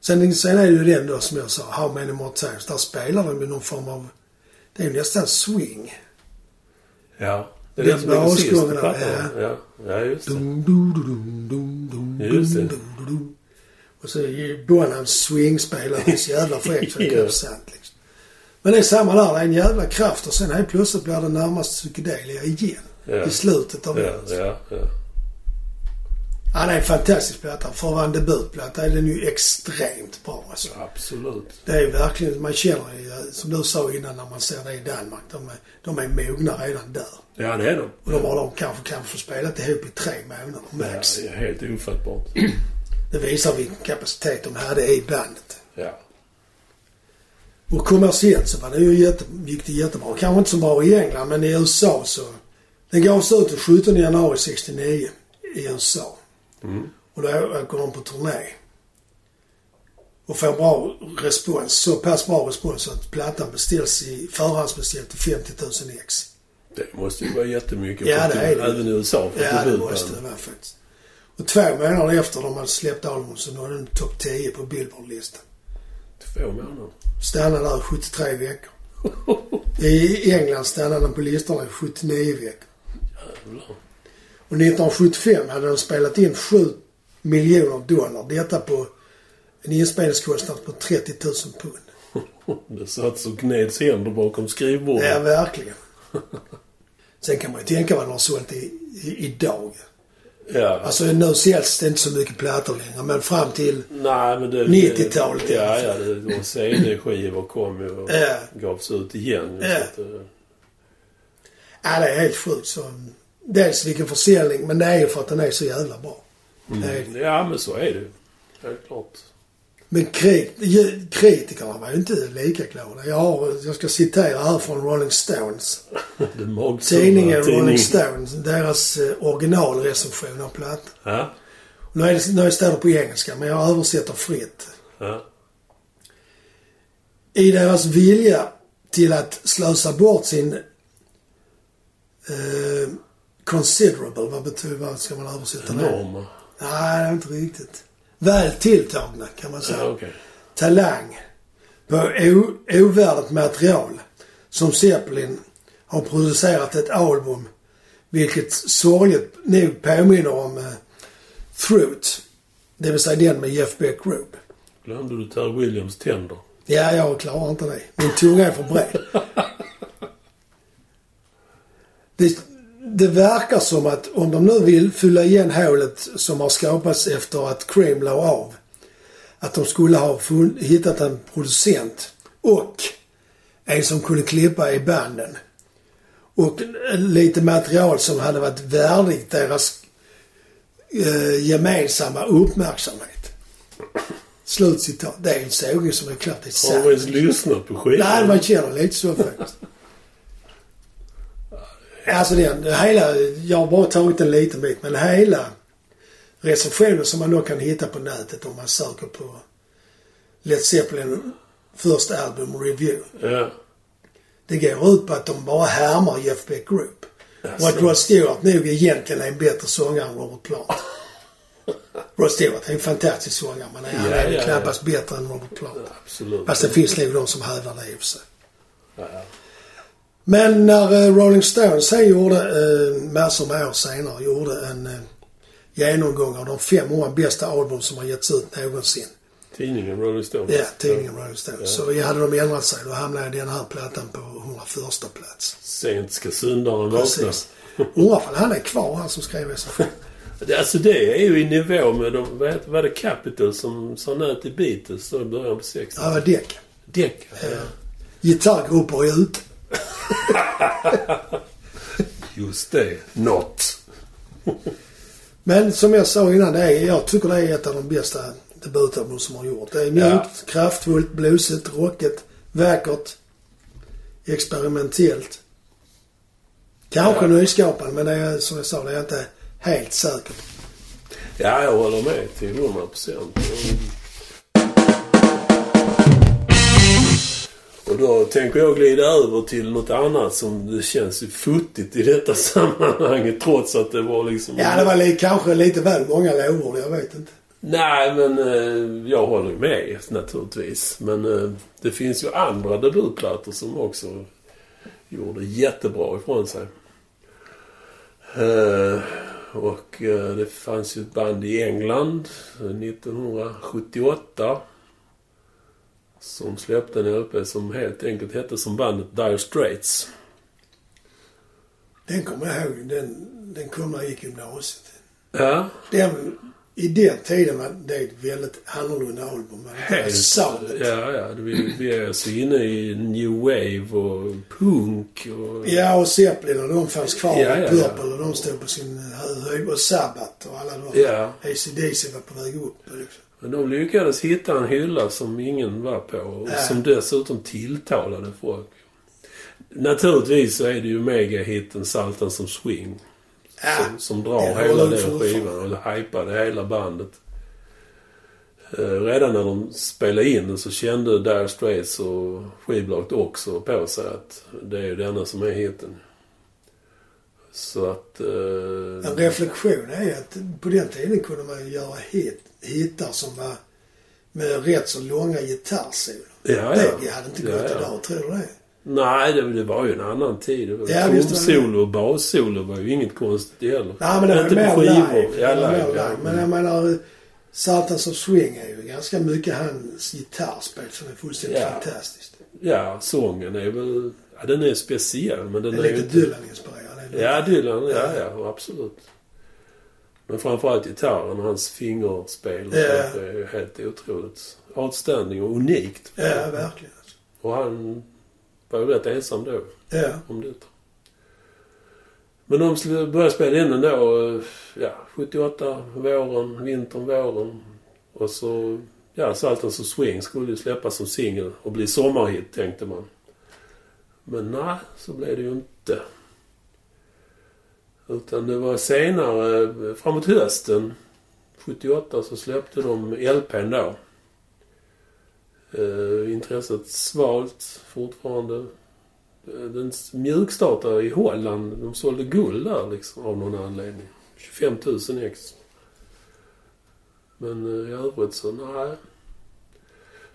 [SPEAKER 1] Sen, sen är det ju den då som jag sa, How many more times. Där spelar de ju någon form av... Det är ju nästan swing.
[SPEAKER 2] ja. Det är
[SPEAKER 1] Den
[SPEAKER 2] det som är sist på
[SPEAKER 1] basgången,
[SPEAKER 2] plattan. Ja. ja, just det.
[SPEAKER 1] Dum, du, du, dum, dum, dum,
[SPEAKER 2] Just det.
[SPEAKER 1] dum, du, du, du. Och så är Bonham swing-spelare. Det är så jävla fräckt så det
[SPEAKER 2] Ja.
[SPEAKER 1] är sant liksom. Men det är samma där. Det är en jävla kraft och sen helt plötsligt blir det närmast psykedelia igen.
[SPEAKER 2] Ja.
[SPEAKER 1] I slutet av
[SPEAKER 2] Ja,
[SPEAKER 1] den.
[SPEAKER 2] ja, ja.
[SPEAKER 1] Ja, det är en fantastisk platta. För att vara en debutplatta är den ju extremt bra alltså.
[SPEAKER 2] Absolut.
[SPEAKER 1] Det är verkligen, man känner ju, eh, som du sa innan när man ser det i Danmark, de är, de är mogna redan där.
[SPEAKER 2] Ja, det är de.
[SPEAKER 1] Och de har de kanske, kanske spelat ihop i tre månader
[SPEAKER 2] Ja,
[SPEAKER 1] max.
[SPEAKER 2] det är helt ofattbart.
[SPEAKER 1] Det visar vilken kapacitet de hade i bandet.
[SPEAKER 2] Ja.
[SPEAKER 1] Och kommersiellt så var det ju jätte, gick det jättebra. Kanske inte så bra i England, men i USA så... Den gavs ut den 17 januari 69 i USA. Och då åker de på turné. Och får bra respons. Så pass bra respons att plattan beställs i förhandsbeställt till 50 000 ex.
[SPEAKER 2] Det måste ju vara jättemycket.
[SPEAKER 1] Ja,
[SPEAKER 2] för
[SPEAKER 1] det
[SPEAKER 2] att-
[SPEAKER 1] är det.
[SPEAKER 2] Även i USA. För
[SPEAKER 1] Ja, det
[SPEAKER 2] debutband.
[SPEAKER 1] måste det vara faktiskt. Och två månader efter de hade släppt album så nådde den topp 10 på Billboard-listan.
[SPEAKER 2] Två månader.
[SPEAKER 1] Stannade där i 73 veckor. I England stannade den på listorna i 79 veckor.
[SPEAKER 2] Jävlar.
[SPEAKER 1] Och 1975 hade de spelat in 7 miljoner dollar. Detta på en inspelningskostnad på 30 000 pund.
[SPEAKER 2] Det satt så gneds händer bakom skrivbordet.
[SPEAKER 1] Ja, verkligen. Sen kan man ju tänka vad de har sålt i, i, idag.
[SPEAKER 2] Ja.
[SPEAKER 1] Alltså nu säljs det inte så mycket plattor längre, men fram till...
[SPEAKER 2] Nej, men det...
[SPEAKER 1] 90-talet i alla
[SPEAKER 2] Ja, ja.
[SPEAKER 1] fall.
[SPEAKER 2] Det, och CD-skivor kom ju och
[SPEAKER 1] Ja.
[SPEAKER 2] gavs ut igen.
[SPEAKER 1] Ja.
[SPEAKER 2] Så att, eh,
[SPEAKER 1] Ja, det är helt sjukt. Så, dels vilken försäljning, men det är ju för att den är så jävla bra. Det är det.
[SPEAKER 2] Ja, men så är det ju. Helt klart.
[SPEAKER 1] Men kri- ju- kritikerna var ju inte lika glada. Jag, har, jag ska citera här från Rolling Stones.
[SPEAKER 2] Det är magsura
[SPEAKER 1] Tidningen Rolling
[SPEAKER 2] tidning.
[SPEAKER 1] Stones, deras eh, originalrecension av plattan.
[SPEAKER 2] Ja,
[SPEAKER 1] Nu, är det- nu står det på engelska, men jag översätter fritt.
[SPEAKER 2] ja,
[SPEAKER 1] I deras vilja till att slösa bort sin eh, considerable, vad betyder, vad ska man översätta det?
[SPEAKER 2] enorma.
[SPEAKER 1] Nej, det är inte riktigt. Väl tilltagna kan man säga.
[SPEAKER 2] Ja, okej.
[SPEAKER 1] talang på o- ovärdigt material som Zeppelin har producerat ett album vilket sorgligt nog påminner om eh, Throat. Det vill säga den med Jeff Beck Group.
[SPEAKER 2] Glömde du Terry Williams tänder?
[SPEAKER 1] Ja, jag klarar inte det. Min tunga är för bred. Det, det verkar som att om de nu vill fylla igen hålet som har skapats efter att Cream la av. Att de skulle ha funn- hittat en producent och en som kunde klippa i banden. Och lite material som hade varit värdigt deras eh, gemensamma uppmärksamhet. Slutcitat. Det är en sågning som är knappt är
[SPEAKER 2] Har
[SPEAKER 1] sann.
[SPEAKER 2] du ens lyssnat på skivan?
[SPEAKER 1] Nej, man känner lite så faktiskt. Alltså den, hela, jag har bara tagit en liten bit, men hela recensionen som man då kan hitta på nätet om man söker på Led Zeppelin första album review.
[SPEAKER 2] Ja,
[SPEAKER 1] Det går ut på att de bara härmar Jeff Beck Group. Och att Rod Stewart nog egentligen är en bättre sångare än Robert Plant. Rod Stewart är en fantastisk sångare men han
[SPEAKER 2] Ja,
[SPEAKER 1] är
[SPEAKER 2] ja,
[SPEAKER 1] knappast bättre än Robert Plant.
[SPEAKER 2] Absolut.
[SPEAKER 1] Fast det finns nog de som hävdar det i och för sig.
[SPEAKER 2] Ja, ja.
[SPEAKER 1] Men när eh, Rolling Stones sen gjorde, eh, massor med år senare, gjorde en eh, genomgång av de 500 bästa album som har getts ut någonsin.
[SPEAKER 2] Tidningen Rolling Stone.
[SPEAKER 1] Ja, tidningen Rolling Stones. Så hade de ändrat sig, då hamnade den här plattan på 101 plats.
[SPEAKER 2] Sent ska syndaren vakna.
[SPEAKER 1] Precis. Undrar ifall han är kvar, han som skrev SFO.
[SPEAKER 2] Det- Alltså det är ju i nivå med de, vad heter- var det Capital som sa nej till Beatles då i början på eh, 60
[SPEAKER 1] Han var däck.
[SPEAKER 2] Däck.
[SPEAKER 1] Gitarrgrupper är ute.
[SPEAKER 2] Just det. Not.
[SPEAKER 1] Men som jag sa innan, det är, jag tycker det är ett av de bästa debutalbum som har gjort. Det är mjukt,
[SPEAKER 2] Ja.
[SPEAKER 1] kraftfullt, bluesigt, rockigt, vackert, experimentellt. Kanske nyskapande, men det är, som jag sa, det är jag inte helt säker på.
[SPEAKER 2] Ja, jag håller med till 100 procent. Och då tänker jag glida över till något annat som det känns ju futtigt i detta sammanhanget trots att det var liksom...
[SPEAKER 1] Ja, det var li, kanske lite väl många lovord, jag vet inte.
[SPEAKER 2] Nej, men eh, jag håller ju med naturligtvis. Men eh, det finns ju andra debutplattor som också gjorde jättebra ifrån sig. Eh, och eh, det fanns ju ett band i England eh, 1978 som släppte en LP som helt enkelt hette som bandet Dire Straits.
[SPEAKER 1] Den kommer jag ihåg, den, den kom när jag gick i gymnasiet.
[SPEAKER 2] Ja,
[SPEAKER 1] Den, I den tiden var det ett väldigt annorlunda album. men det var soundet.
[SPEAKER 2] Ja, ja. det- Vi, vi är så inne i new wave och punk och...
[SPEAKER 1] Ja, och Zeppelin och de fanns kvar.
[SPEAKER 2] Ja, ja, ja.
[SPEAKER 1] Purple och de stod på sin höjd. Och Sabbath och alla de.
[SPEAKER 2] Ja.
[SPEAKER 1] ACDC var på väg upp. Liksom.
[SPEAKER 2] Men de lyckades hitta en hylla som ingen var på och
[SPEAKER 1] Ja.
[SPEAKER 2] som dessutom tilltalade folk. Naturligtvis så är det ju megahitten Saltan som swing
[SPEAKER 1] Ja,
[SPEAKER 2] som, som drar
[SPEAKER 1] Ja,
[SPEAKER 2] hela
[SPEAKER 1] det
[SPEAKER 2] den
[SPEAKER 1] tror
[SPEAKER 2] skivan och hypade hela bandet. Eh, redan när de spelade in den så kände Dire Straits och skivbolaget också på sig att det är ju denna som är hitten. Så att... Eh,
[SPEAKER 1] en reflektion är att på den tiden kunde man ju göra hit, hittar som var med rätt så långa gitarrsolon.
[SPEAKER 2] ja, ja.
[SPEAKER 1] Det hade inte
[SPEAKER 2] Ja,
[SPEAKER 1] gått
[SPEAKER 2] ja.
[SPEAKER 1] idag, tror du det?
[SPEAKER 2] Nej, det, det var ju en annan tid. Det var
[SPEAKER 1] Ja, visst var det.
[SPEAKER 2] Trumsolo och bassolo var ju inget konstigt heller.
[SPEAKER 1] Nej, men det var
[SPEAKER 2] Inte på
[SPEAKER 1] mer
[SPEAKER 2] skivor.
[SPEAKER 1] live.
[SPEAKER 2] Ja,
[SPEAKER 1] Det var
[SPEAKER 2] live,
[SPEAKER 1] mer
[SPEAKER 2] ja.
[SPEAKER 1] live. Men jag menar, eh, Saltans of Swing är ju ganska mycket hans gitarrspel som är fullständigt
[SPEAKER 2] Ja.
[SPEAKER 1] fantastiskt.
[SPEAKER 2] Ja, sången är väl... Ja, den är speciell, men den
[SPEAKER 1] Det
[SPEAKER 2] är,
[SPEAKER 1] är
[SPEAKER 2] ju
[SPEAKER 1] lite
[SPEAKER 2] inte...
[SPEAKER 1] Dylan-inspirerad.
[SPEAKER 2] Ja, Dylan. Ja,
[SPEAKER 1] Ja.
[SPEAKER 2] ja, absolut. Men framförallt gitarren och hans fingerspel. och
[SPEAKER 1] Ja.
[SPEAKER 2] sånt, Det är ju helt otroligt. Outstanding och unikt.
[SPEAKER 1] Ja, verkligen.
[SPEAKER 2] Och han var ju rätt ensam då.
[SPEAKER 1] Ja.
[SPEAKER 2] om det. Men de skulle börja spela in den då, eh, ja, 78, våren, vintern, våren. Och så, ja, Saltans så Swing skulle ju släppas som singel och bli sommarhit, tänkte man. Men nej, så blev det ju inte. Utan det var senare, eh, framåt hösten 78, så släppte de LPn då. Eh, intresset svalt fortfarande. Eh, Den mjukstartade i Holland. De sålde guld där liksom, av någon anledning. 25 000 ex. Men eh, i övrigt så nej.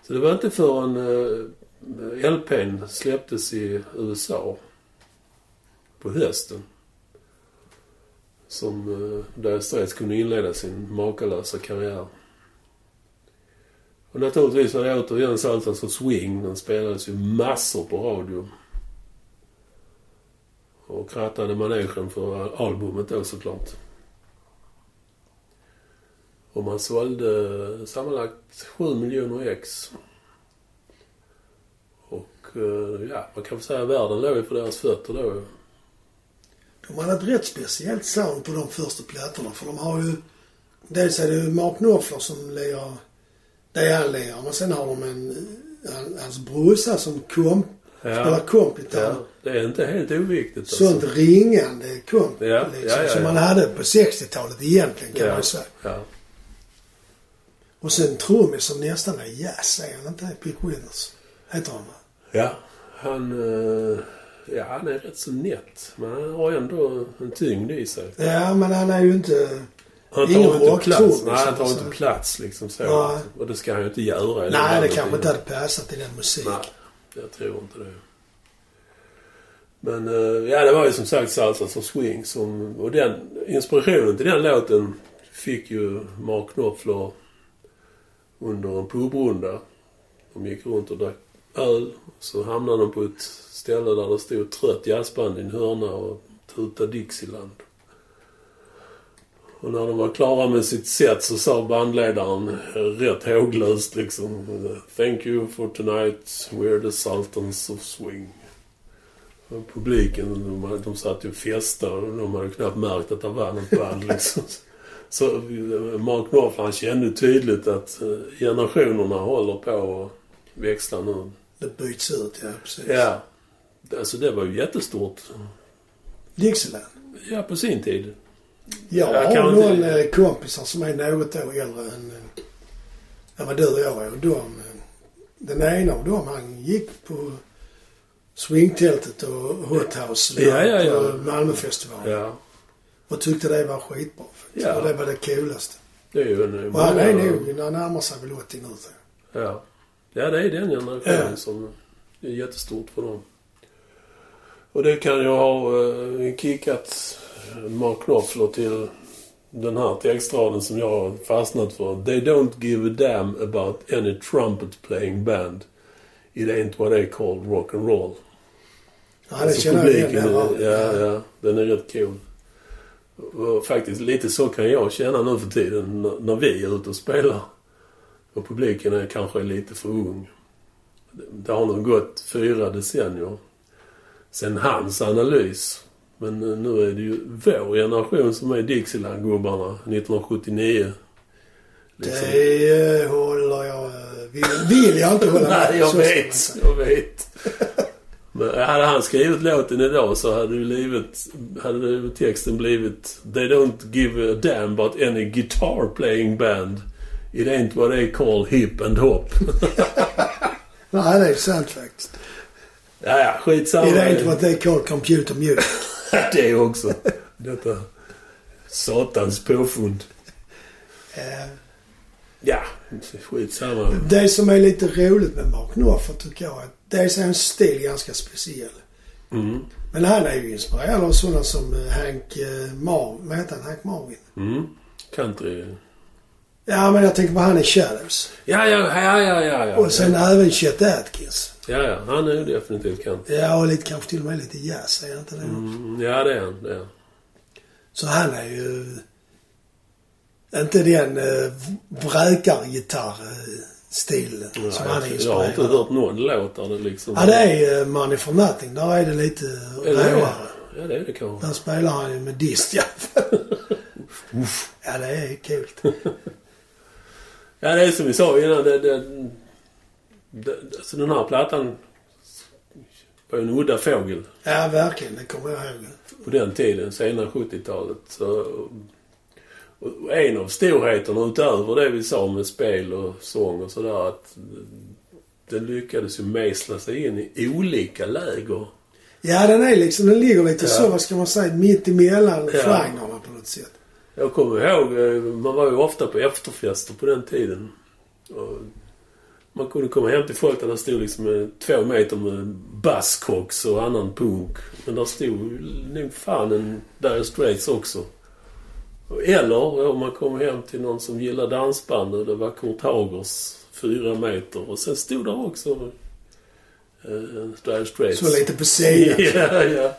[SPEAKER 2] Så det var inte förrän eh, LPn släpptes i USA på hösten som eh, Dire Straits kunde inleda sin makalösa karriär. Och naturligtvis var det återigen Saltans och Swing. Den spelades ju massor på radio. Och krattade manegen för albumet då såklart. Och man sålde sammanlagt 7 miljoner ex. Och eh, ja, man kan väl säga att världen låg ju på deras fötter då.
[SPEAKER 1] De hade ett rätt speciellt sound på de första plattorna för de har ju... Dels är det ju Mark Knopfler som lirar det han lirar men sen har de en... han- Hans brorsa som kom, spelar kompgitarr.
[SPEAKER 2] ja, det är inte helt oviktigt alltså.
[SPEAKER 1] Sånt ringande komp
[SPEAKER 2] Ja,
[SPEAKER 1] liksom,
[SPEAKER 2] ja, ja,
[SPEAKER 1] som
[SPEAKER 2] ja.
[SPEAKER 1] man hade på 60-talet egentligen kan man
[SPEAKER 2] ja,
[SPEAKER 1] ju säga.
[SPEAKER 2] ja.
[SPEAKER 1] Och sen trummis som nästan är jazz, är han inte? Pick Winners. Heter han va?
[SPEAKER 2] ja, han... Eh, Ja, han är rätt så nätt. Men han har ändå en tyngd i sig.
[SPEAKER 1] Ja, men han är ju inte...
[SPEAKER 2] Han tar
[SPEAKER 1] Ingen
[SPEAKER 2] inte
[SPEAKER 1] rockton,
[SPEAKER 2] plats.
[SPEAKER 1] liksom,
[SPEAKER 2] Nej, han tar
[SPEAKER 1] så.
[SPEAKER 2] inte plats liksom så.
[SPEAKER 1] Nej.
[SPEAKER 2] Och det ska han ju inte göra. i den
[SPEAKER 1] Nej,
[SPEAKER 2] här
[SPEAKER 1] det kanske inte
[SPEAKER 2] tiden.
[SPEAKER 1] hade passat i den musiken.
[SPEAKER 2] Nej, jag tror inte det. Men eh, ja, det var ju som sagt Salsa som Swing. Som, och den inspirationen till den låten fick ju Mark Knopfler under en pubrunda. De gick runt och drack öl. Så hamnade de på ett ställe där det stod ett trött jazzband i en hörna och tutade Dixieland. Och när de var klara med sitt set så sa bandledaren eh, rätt håglöst liksom Thank you for tonight, we're the Sultans of Swing. Och publiken, de, hade- de satt ju och festade och de hade knappt märkt att det var något band liksom. Så eh, Mark Knopfler han kände tydligt att eh, generationerna håller på att växla nu.
[SPEAKER 1] Det byts ut, ja precis.
[SPEAKER 2] Ja. Alltså det var ju jättestort.
[SPEAKER 1] Dixieland.
[SPEAKER 2] Ja, på sin tid.
[SPEAKER 1] Jag
[SPEAKER 2] Jag
[SPEAKER 1] har
[SPEAKER 2] kan
[SPEAKER 1] någon
[SPEAKER 2] inte-
[SPEAKER 1] eh, kompisar som är något år äldre än, eh, än vad du och jag är. Och de, eh, den ena av dem, han gick på swingtältet och hot house
[SPEAKER 2] Ja, ja, ja.
[SPEAKER 1] på Malmöfestivalen.
[SPEAKER 2] Ja.
[SPEAKER 1] Och tyckte det var skitbra. faktiskt.
[SPEAKER 2] Ja.
[SPEAKER 1] Och det var det coolaste.
[SPEAKER 2] Det är ju en...
[SPEAKER 1] Och han är nog, han närmar sig väl 80 nu. tror jag.
[SPEAKER 2] Ja. ja, det är den generationen
[SPEAKER 1] Ja.
[SPEAKER 2] som är jättestort för dem. Och det kan ju ha eh, kickat Mark Knopfler till den här textraden som jag har fastnat för. They don't give a damn about any trumpet playing band. It ain't what they call rock and roll.
[SPEAKER 1] Ja, det känner jag igen.
[SPEAKER 2] är,
[SPEAKER 1] där,
[SPEAKER 2] Alltså, ja, ja, den är rätt cool. Och faktiskt lite så kan jag känna nu för tiden n- när vi är ute och spelar. Och publiken är kanske lite för ung. Det- Det har nog gått fyra decennier sen hans analys. Men eh, nu är det ju vår generation som är Dixieland-gubbarna 1979. Liksom.
[SPEAKER 1] Det eh, håller jag... eh, Vill, vill jag inte hålla med.
[SPEAKER 2] Nej,
[SPEAKER 1] Så
[SPEAKER 2] jag
[SPEAKER 1] ska man
[SPEAKER 2] vet.
[SPEAKER 1] säga.
[SPEAKER 2] Jag vet. Men hade han skrivit låten idag så hade, ju livet, hade ju texten blivit They don't give a damn about any guitar playing band. It ain't what they call hip and hop.
[SPEAKER 1] Nej, det är sant faktiskt.
[SPEAKER 2] ja, ja, skitsamma.
[SPEAKER 1] Det är inte vad det kallar computer music.
[SPEAKER 2] det är också. Detta satans påfund.
[SPEAKER 1] Eh,
[SPEAKER 2] Ja, skitsamma.
[SPEAKER 1] Det som är lite roligt med Mark Knopfler tycker jag är att dels är hans stil ganska speciell.
[SPEAKER 2] Mm.
[SPEAKER 1] Men han är ju inspirerad av sådana som eh, Hank eh, Marvin. Vad heter han? Hank Marvin?
[SPEAKER 2] Mm. Country.
[SPEAKER 1] Ja, men jag tänker på han i Shadows.
[SPEAKER 2] Ja, ja, ja, ja, ja. Ja,
[SPEAKER 1] Och sen även Chet Atkins.
[SPEAKER 2] ja, ja. han är ju definitivt country.
[SPEAKER 1] Ja, och lite, kanske till och med lite jazz, är jag inte det?
[SPEAKER 2] Mm, ja, det är han. Det är han.
[SPEAKER 1] Så han är ju... Inte den eh, vräkargitarrstilen
[SPEAKER 2] Nej,
[SPEAKER 1] som han är
[SPEAKER 2] jag har
[SPEAKER 1] inspirerad
[SPEAKER 2] inte
[SPEAKER 1] av.
[SPEAKER 2] hört någon låt där det liksom...
[SPEAKER 1] Ja, det är eh, Money for Nothing. Där är det lite
[SPEAKER 2] Eller är det?
[SPEAKER 1] råare.
[SPEAKER 2] Ja, det är det kanske.
[SPEAKER 1] Där spelar han ju med dist i alla fall. Ja, det är kul.
[SPEAKER 2] Ja, det är som vi sa innan. Det, det, det, alltså den här plattan var ju en udda fågel
[SPEAKER 1] Ja, verkligen. Det kommer jag ihåg.
[SPEAKER 2] på den tiden, senare 70-talet. Så, och och en av storheterna utöver det vi sa med spel och sång och sådär att den lyckades ju mejsla sig in i olika läger.
[SPEAKER 1] Ja, den är liksom... Den ligger lite
[SPEAKER 2] Ja.
[SPEAKER 1] så, vad ska man säga, mitt emellan
[SPEAKER 2] Ja.
[SPEAKER 1] genrerna på något sätt.
[SPEAKER 2] Jag kommer ihåg, eh, man var ju ofta på efterfester på den tiden. Och man kunde komma hem till folk där det stod liksom eh, två meter med Buzzcocks och annan punk. Men där stod ju nog fan en Dire Straits också. Eller om man kom hem till någon som gillade dansband och det var Kurt Hagers fyra meter. Och sen stod där också eh, Dire Straits.
[SPEAKER 1] Så lite på sidan.
[SPEAKER 2] Ja, ja.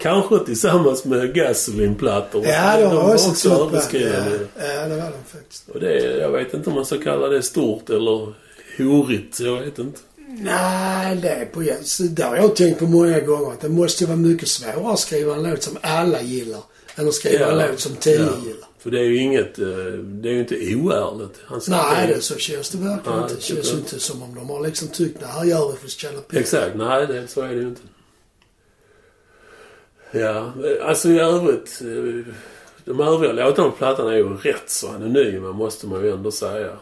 [SPEAKER 2] Kanske tillsammans med Gasoline-plattor.
[SPEAKER 1] Ja, de var också ett stort band.
[SPEAKER 2] överskrivande.
[SPEAKER 1] Ja, ja, det var de faktiskt.
[SPEAKER 2] Och det, jag vet inte om man ska kalla det stort eller horigt. Jag vet inte.
[SPEAKER 1] Nej, det är på så Där har jag tänkt på många gånger att det måste vara mycket svårare att skriva en låt som alla gillar än att skriva en låt som tio gillar.
[SPEAKER 2] För det är ju inget... eh, Det är ju inte oärligt. Han ska
[SPEAKER 1] Nej,
[SPEAKER 2] inte-
[SPEAKER 1] det så känns det verkligen
[SPEAKER 2] Nej,
[SPEAKER 1] inte. Det
[SPEAKER 2] det tycker
[SPEAKER 1] känns
[SPEAKER 2] jag
[SPEAKER 1] inte som om de har liksom tyckt det här gör vi för att tjäna pengar.
[SPEAKER 2] Exakt. Nej, det, så är det ju inte. Ja, eh, alltså i övrigt... eh, De övriga låtarna på plattan är ju rätt så anonyma, måste man ju ändå säga. Eh,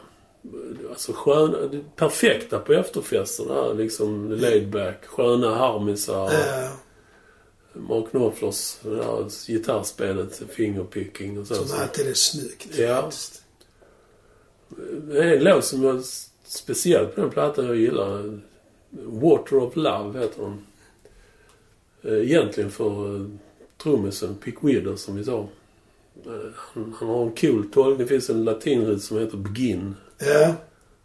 [SPEAKER 2] Alltså sköna... det Perfekta på efterfester där, liksom laidback, sköna harmisar.
[SPEAKER 1] Eh,
[SPEAKER 2] Mark Knopflers det där gitarrspelet Fingerpicking och så.
[SPEAKER 1] Som alltid är snyggt
[SPEAKER 2] Ja.
[SPEAKER 1] faktiskt.
[SPEAKER 2] Det är en låt som jag s- speciellt på den plattan jag gillar. Water of Love heter den. Eh, Egentligen för eh, trummisen Pick Wither som vi sa. Eh, Han, han har en cool tolkning. Det finns en latinrit som heter Begin.
[SPEAKER 1] Ja.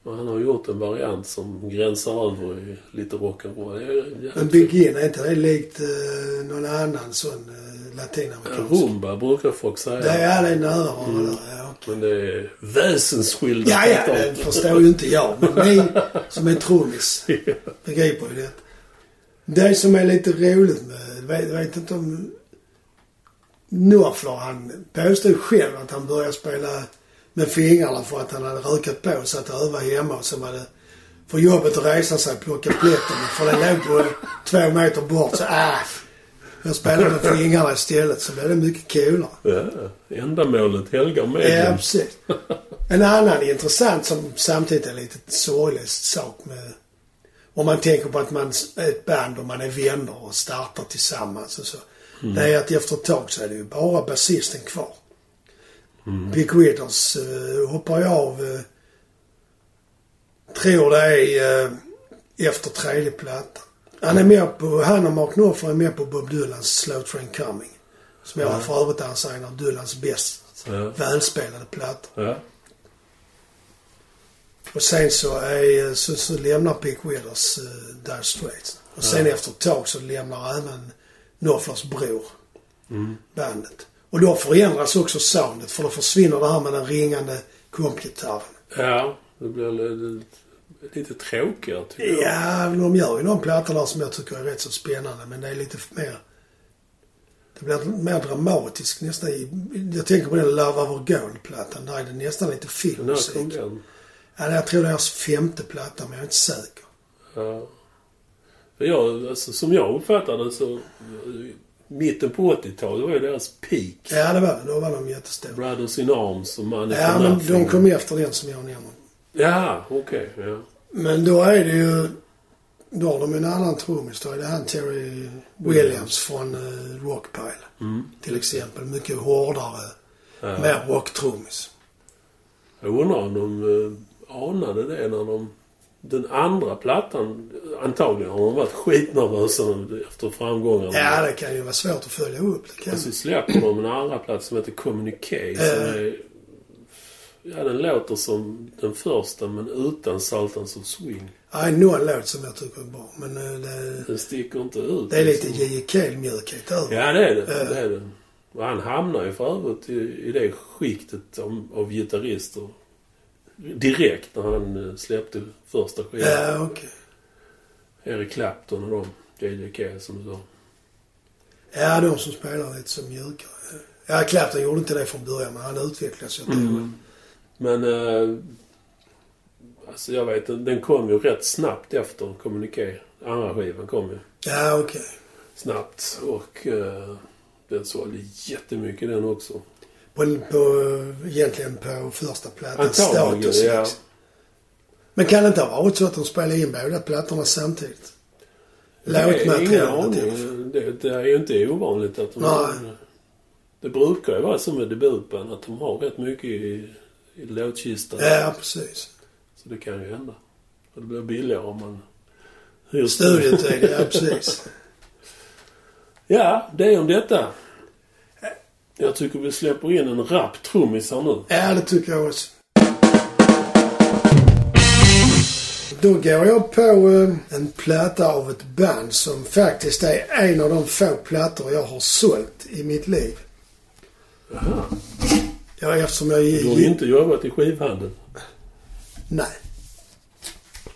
[SPEAKER 2] Och han har gjort en variant som gränsar över i lite rock'n'roll. Det är jävligt
[SPEAKER 1] Men Big In, är inte det likt eh, någon annan sån eh,
[SPEAKER 2] fint.
[SPEAKER 1] latinamerikansk?
[SPEAKER 2] Rumba brukar folk säga.
[SPEAKER 1] Det är alla nära varandra. Ja, okej.
[SPEAKER 2] Men det är väsensskilda
[SPEAKER 1] ja, ja,
[SPEAKER 2] plattor.
[SPEAKER 1] det förstår ju inte jag. Men ni som är trummis begriper ju det. Det som är lite roligt med, jag vet, jag vet inte om Norflor, han påstod själv att han började spela med fingrarna för att han hade rökat på så att öva hemma och sen var det för jobbet att resa sig och plocka plätten. För den låg på två meter bort så ah, jag spelade med fingrarna istället så blev det mycket coolare.
[SPEAKER 2] Ja, ändamålet helgar
[SPEAKER 1] Ja,
[SPEAKER 2] medlen.
[SPEAKER 1] precis. En annan intressant som samtidigt är lite sorglig sak med... Om man tänker på att man är ett band och man är vänner och startar tillsammans och så. Det är att efter ett tag så är det ju bara basisten kvar. Big Withers eh, hoppar ju av, eh, tror det är, eh, efter tredje plattan. Han är med på, han och Mark Knopfler är med på Bob Dylans Slow Train Coming. Som jag för övrigt anser är en av Dylans bästa
[SPEAKER 2] Ja.
[SPEAKER 1] välspelade plattor.
[SPEAKER 2] Ja.
[SPEAKER 1] Och sen så, är, så, så lämnar Pick Withers uh, Dire Straits. Och sen efter ett tag så lämnar även Knopflers bror bandet. Och då förändras också soundet för då försvinner det här med den ringande kompgitarren.
[SPEAKER 2] ja, det blir lite, lite tråkigare tycker jag.
[SPEAKER 1] Ja, de gör ju någon platta där som jag tycker är rätt så spännande men det är lite mer... Det blir mer dramatiskt nästan. i- Jag tänker på den Love Over Gold-plattan. Där är det nästan lite
[SPEAKER 2] När kom
[SPEAKER 1] filmmusik.
[SPEAKER 2] den?
[SPEAKER 1] Ja, jag tror det är deras femte platta men jag är inte säker.
[SPEAKER 2] Ja. Jag, alltså, som jag uppfattar det så... eh, Mitten på 80-talet var ju deras peak.
[SPEAKER 1] Ja, det var det. Då var de jättestora.
[SPEAKER 2] Brothers in Arms och Money
[SPEAKER 1] Ja,
[SPEAKER 2] for
[SPEAKER 1] men
[SPEAKER 2] Nothing.
[SPEAKER 1] de kom efter den som jag nämner.
[SPEAKER 2] Ja, okej. ja.
[SPEAKER 1] Men då är det ju... Då har de en annan trummis. Då är det han Terry Williams från eh, Rockpile. Till exempel. Mycket hårdare. Mer rocktrummis.
[SPEAKER 2] Jag undrar om de eh, anade det när de... Den andra plattan, antagligen har de varit skitnervösa efter framgångarna.
[SPEAKER 1] Ja, det kan ju vara svårt att följa upp. Det kan.
[SPEAKER 2] Och så Alltså, släpper de en andra plats som heter Communique. Som
[SPEAKER 1] Eh.
[SPEAKER 2] är, ja, den låter som den första men utan Saltans of Swing.
[SPEAKER 1] Ja, det är någon låt som jag tycker är bra. Men eh, det,
[SPEAKER 2] Den sticker inte ut.
[SPEAKER 1] det är lite Eh.
[SPEAKER 2] liksom.
[SPEAKER 1] J.E. Cale-mjukhet över.
[SPEAKER 2] Ja, det är det. det, är det. Och han hamnar ju för övrigt i, i det skiktet av, av gitarrister direkt när han eh, släppte första skivan.
[SPEAKER 1] Ja, okej.
[SPEAKER 2] Eric Clapton och dem. J.J. Cale som du sa.
[SPEAKER 1] Ja, de som spelar lite som mjukare. Ja, Clapton gjorde inte det från början, men han utvecklades ju. Mm.
[SPEAKER 2] Men... Eh, alltså jag vet den- den kom ju rätt snabbt efter Communique. Andra skivan kom ju.
[SPEAKER 1] Ja, okej.
[SPEAKER 2] snabbt och eh, den sålde jättemycket den också.
[SPEAKER 1] På, på, egentligen på första plattan.
[SPEAKER 2] Antagligen,
[SPEAKER 1] Status
[SPEAKER 2] ja.
[SPEAKER 1] liksom. Men kan det inte ha varit så att de spelade in båda plattorna samtidigt? Låtmaterialet i alla fall.
[SPEAKER 2] det, det, det är ju inte ovanligt att de...
[SPEAKER 1] Nej.
[SPEAKER 2] Det brukar ju vara som med debutband att de har rätt mycket i, i låtkistan.
[SPEAKER 1] Ja, precis.
[SPEAKER 2] Så det kan ju hända. Och det blir billigare om man hyr
[SPEAKER 1] Studiotid, ja precis.
[SPEAKER 2] Ja, det är om detta. Jag tycker vi släpper in en rapp trummis här nu.
[SPEAKER 1] Ja, det tycker jag också. Då går jag på eh, en platta av ett band som faktiskt är en av de få plattor jag har sålt i mitt liv.
[SPEAKER 2] Jaha.
[SPEAKER 1] Ja, eftersom jag...
[SPEAKER 2] Du har ju inte jobbat i skivhandeln.
[SPEAKER 1] Nej.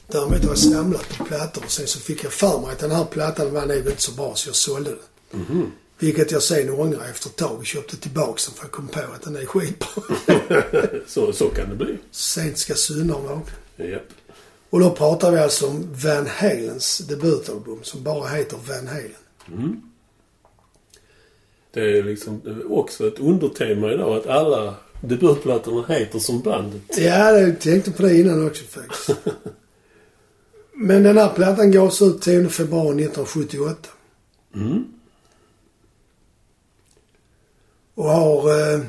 [SPEAKER 1] Däremot har jag samlat på plattor och sen så fick jag för mig att den här plattan var nog inte så bra så jag sålde den. Vilket jag sen ångrar efter ett tag och köpte tillbaks den för jag kom på att den är skitbra.
[SPEAKER 2] så, så kan det bli.
[SPEAKER 1] Sent ska syndaren vakna.
[SPEAKER 2] Japp.
[SPEAKER 1] Och då pratar vi alltså om Van Halens debutalbum som bara heter Van Halen.
[SPEAKER 2] Det är liksom också ett undertema idag att alla debutplattorna heter som bandet.
[SPEAKER 1] Ja, jag tänkte på det innan också faktiskt.
[SPEAKER 2] Mm.
[SPEAKER 1] Men den här plattan gavs ut 10 februari 1978. Och har eh,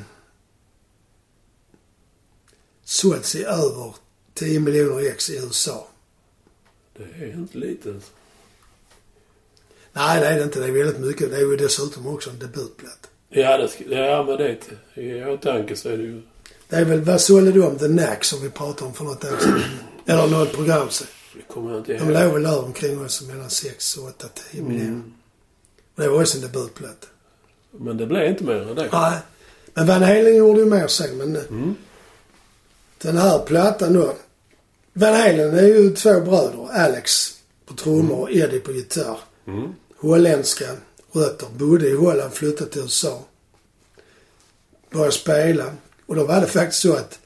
[SPEAKER 1] sålts i över 10 miljoner ex i USA.
[SPEAKER 2] Det är inte lite. alltså.
[SPEAKER 1] Nej, det är det inte. Det är väldigt mycket. Det är ju dessutom också en debutplatta.
[SPEAKER 2] Ja, det ska, ja men det i åtanke så är det ju...
[SPEAKER 1] Det är väl, vad sålde du om The Knack som vi pratade om för något år sedan? Eller något program sedan.
[SPEAKER 2] Det kommer jag inte
[SPEAKER 1] De
[SPEAKER 2] ihåg.
[SPEAKER 1] låg väl där omkring oss mellan 6 och 8, 10 miljoner. Och det var också en debutplatta.
[SPEAKER 2] Men det blev inte mer än det.
[SPEAKER 1] Nej. Men Van Halen gjorde ju mer sen. Men eh, den här plattan då. Van Halen är ju två bröder. Alex på trummor och Eddie på gitarr.
[SPEAKER 2] Mm.
[SPEAKER 1] Holländska rötter. Bodde i Holland, flyttade till USA. Började spela. Och då var det faktiskt så att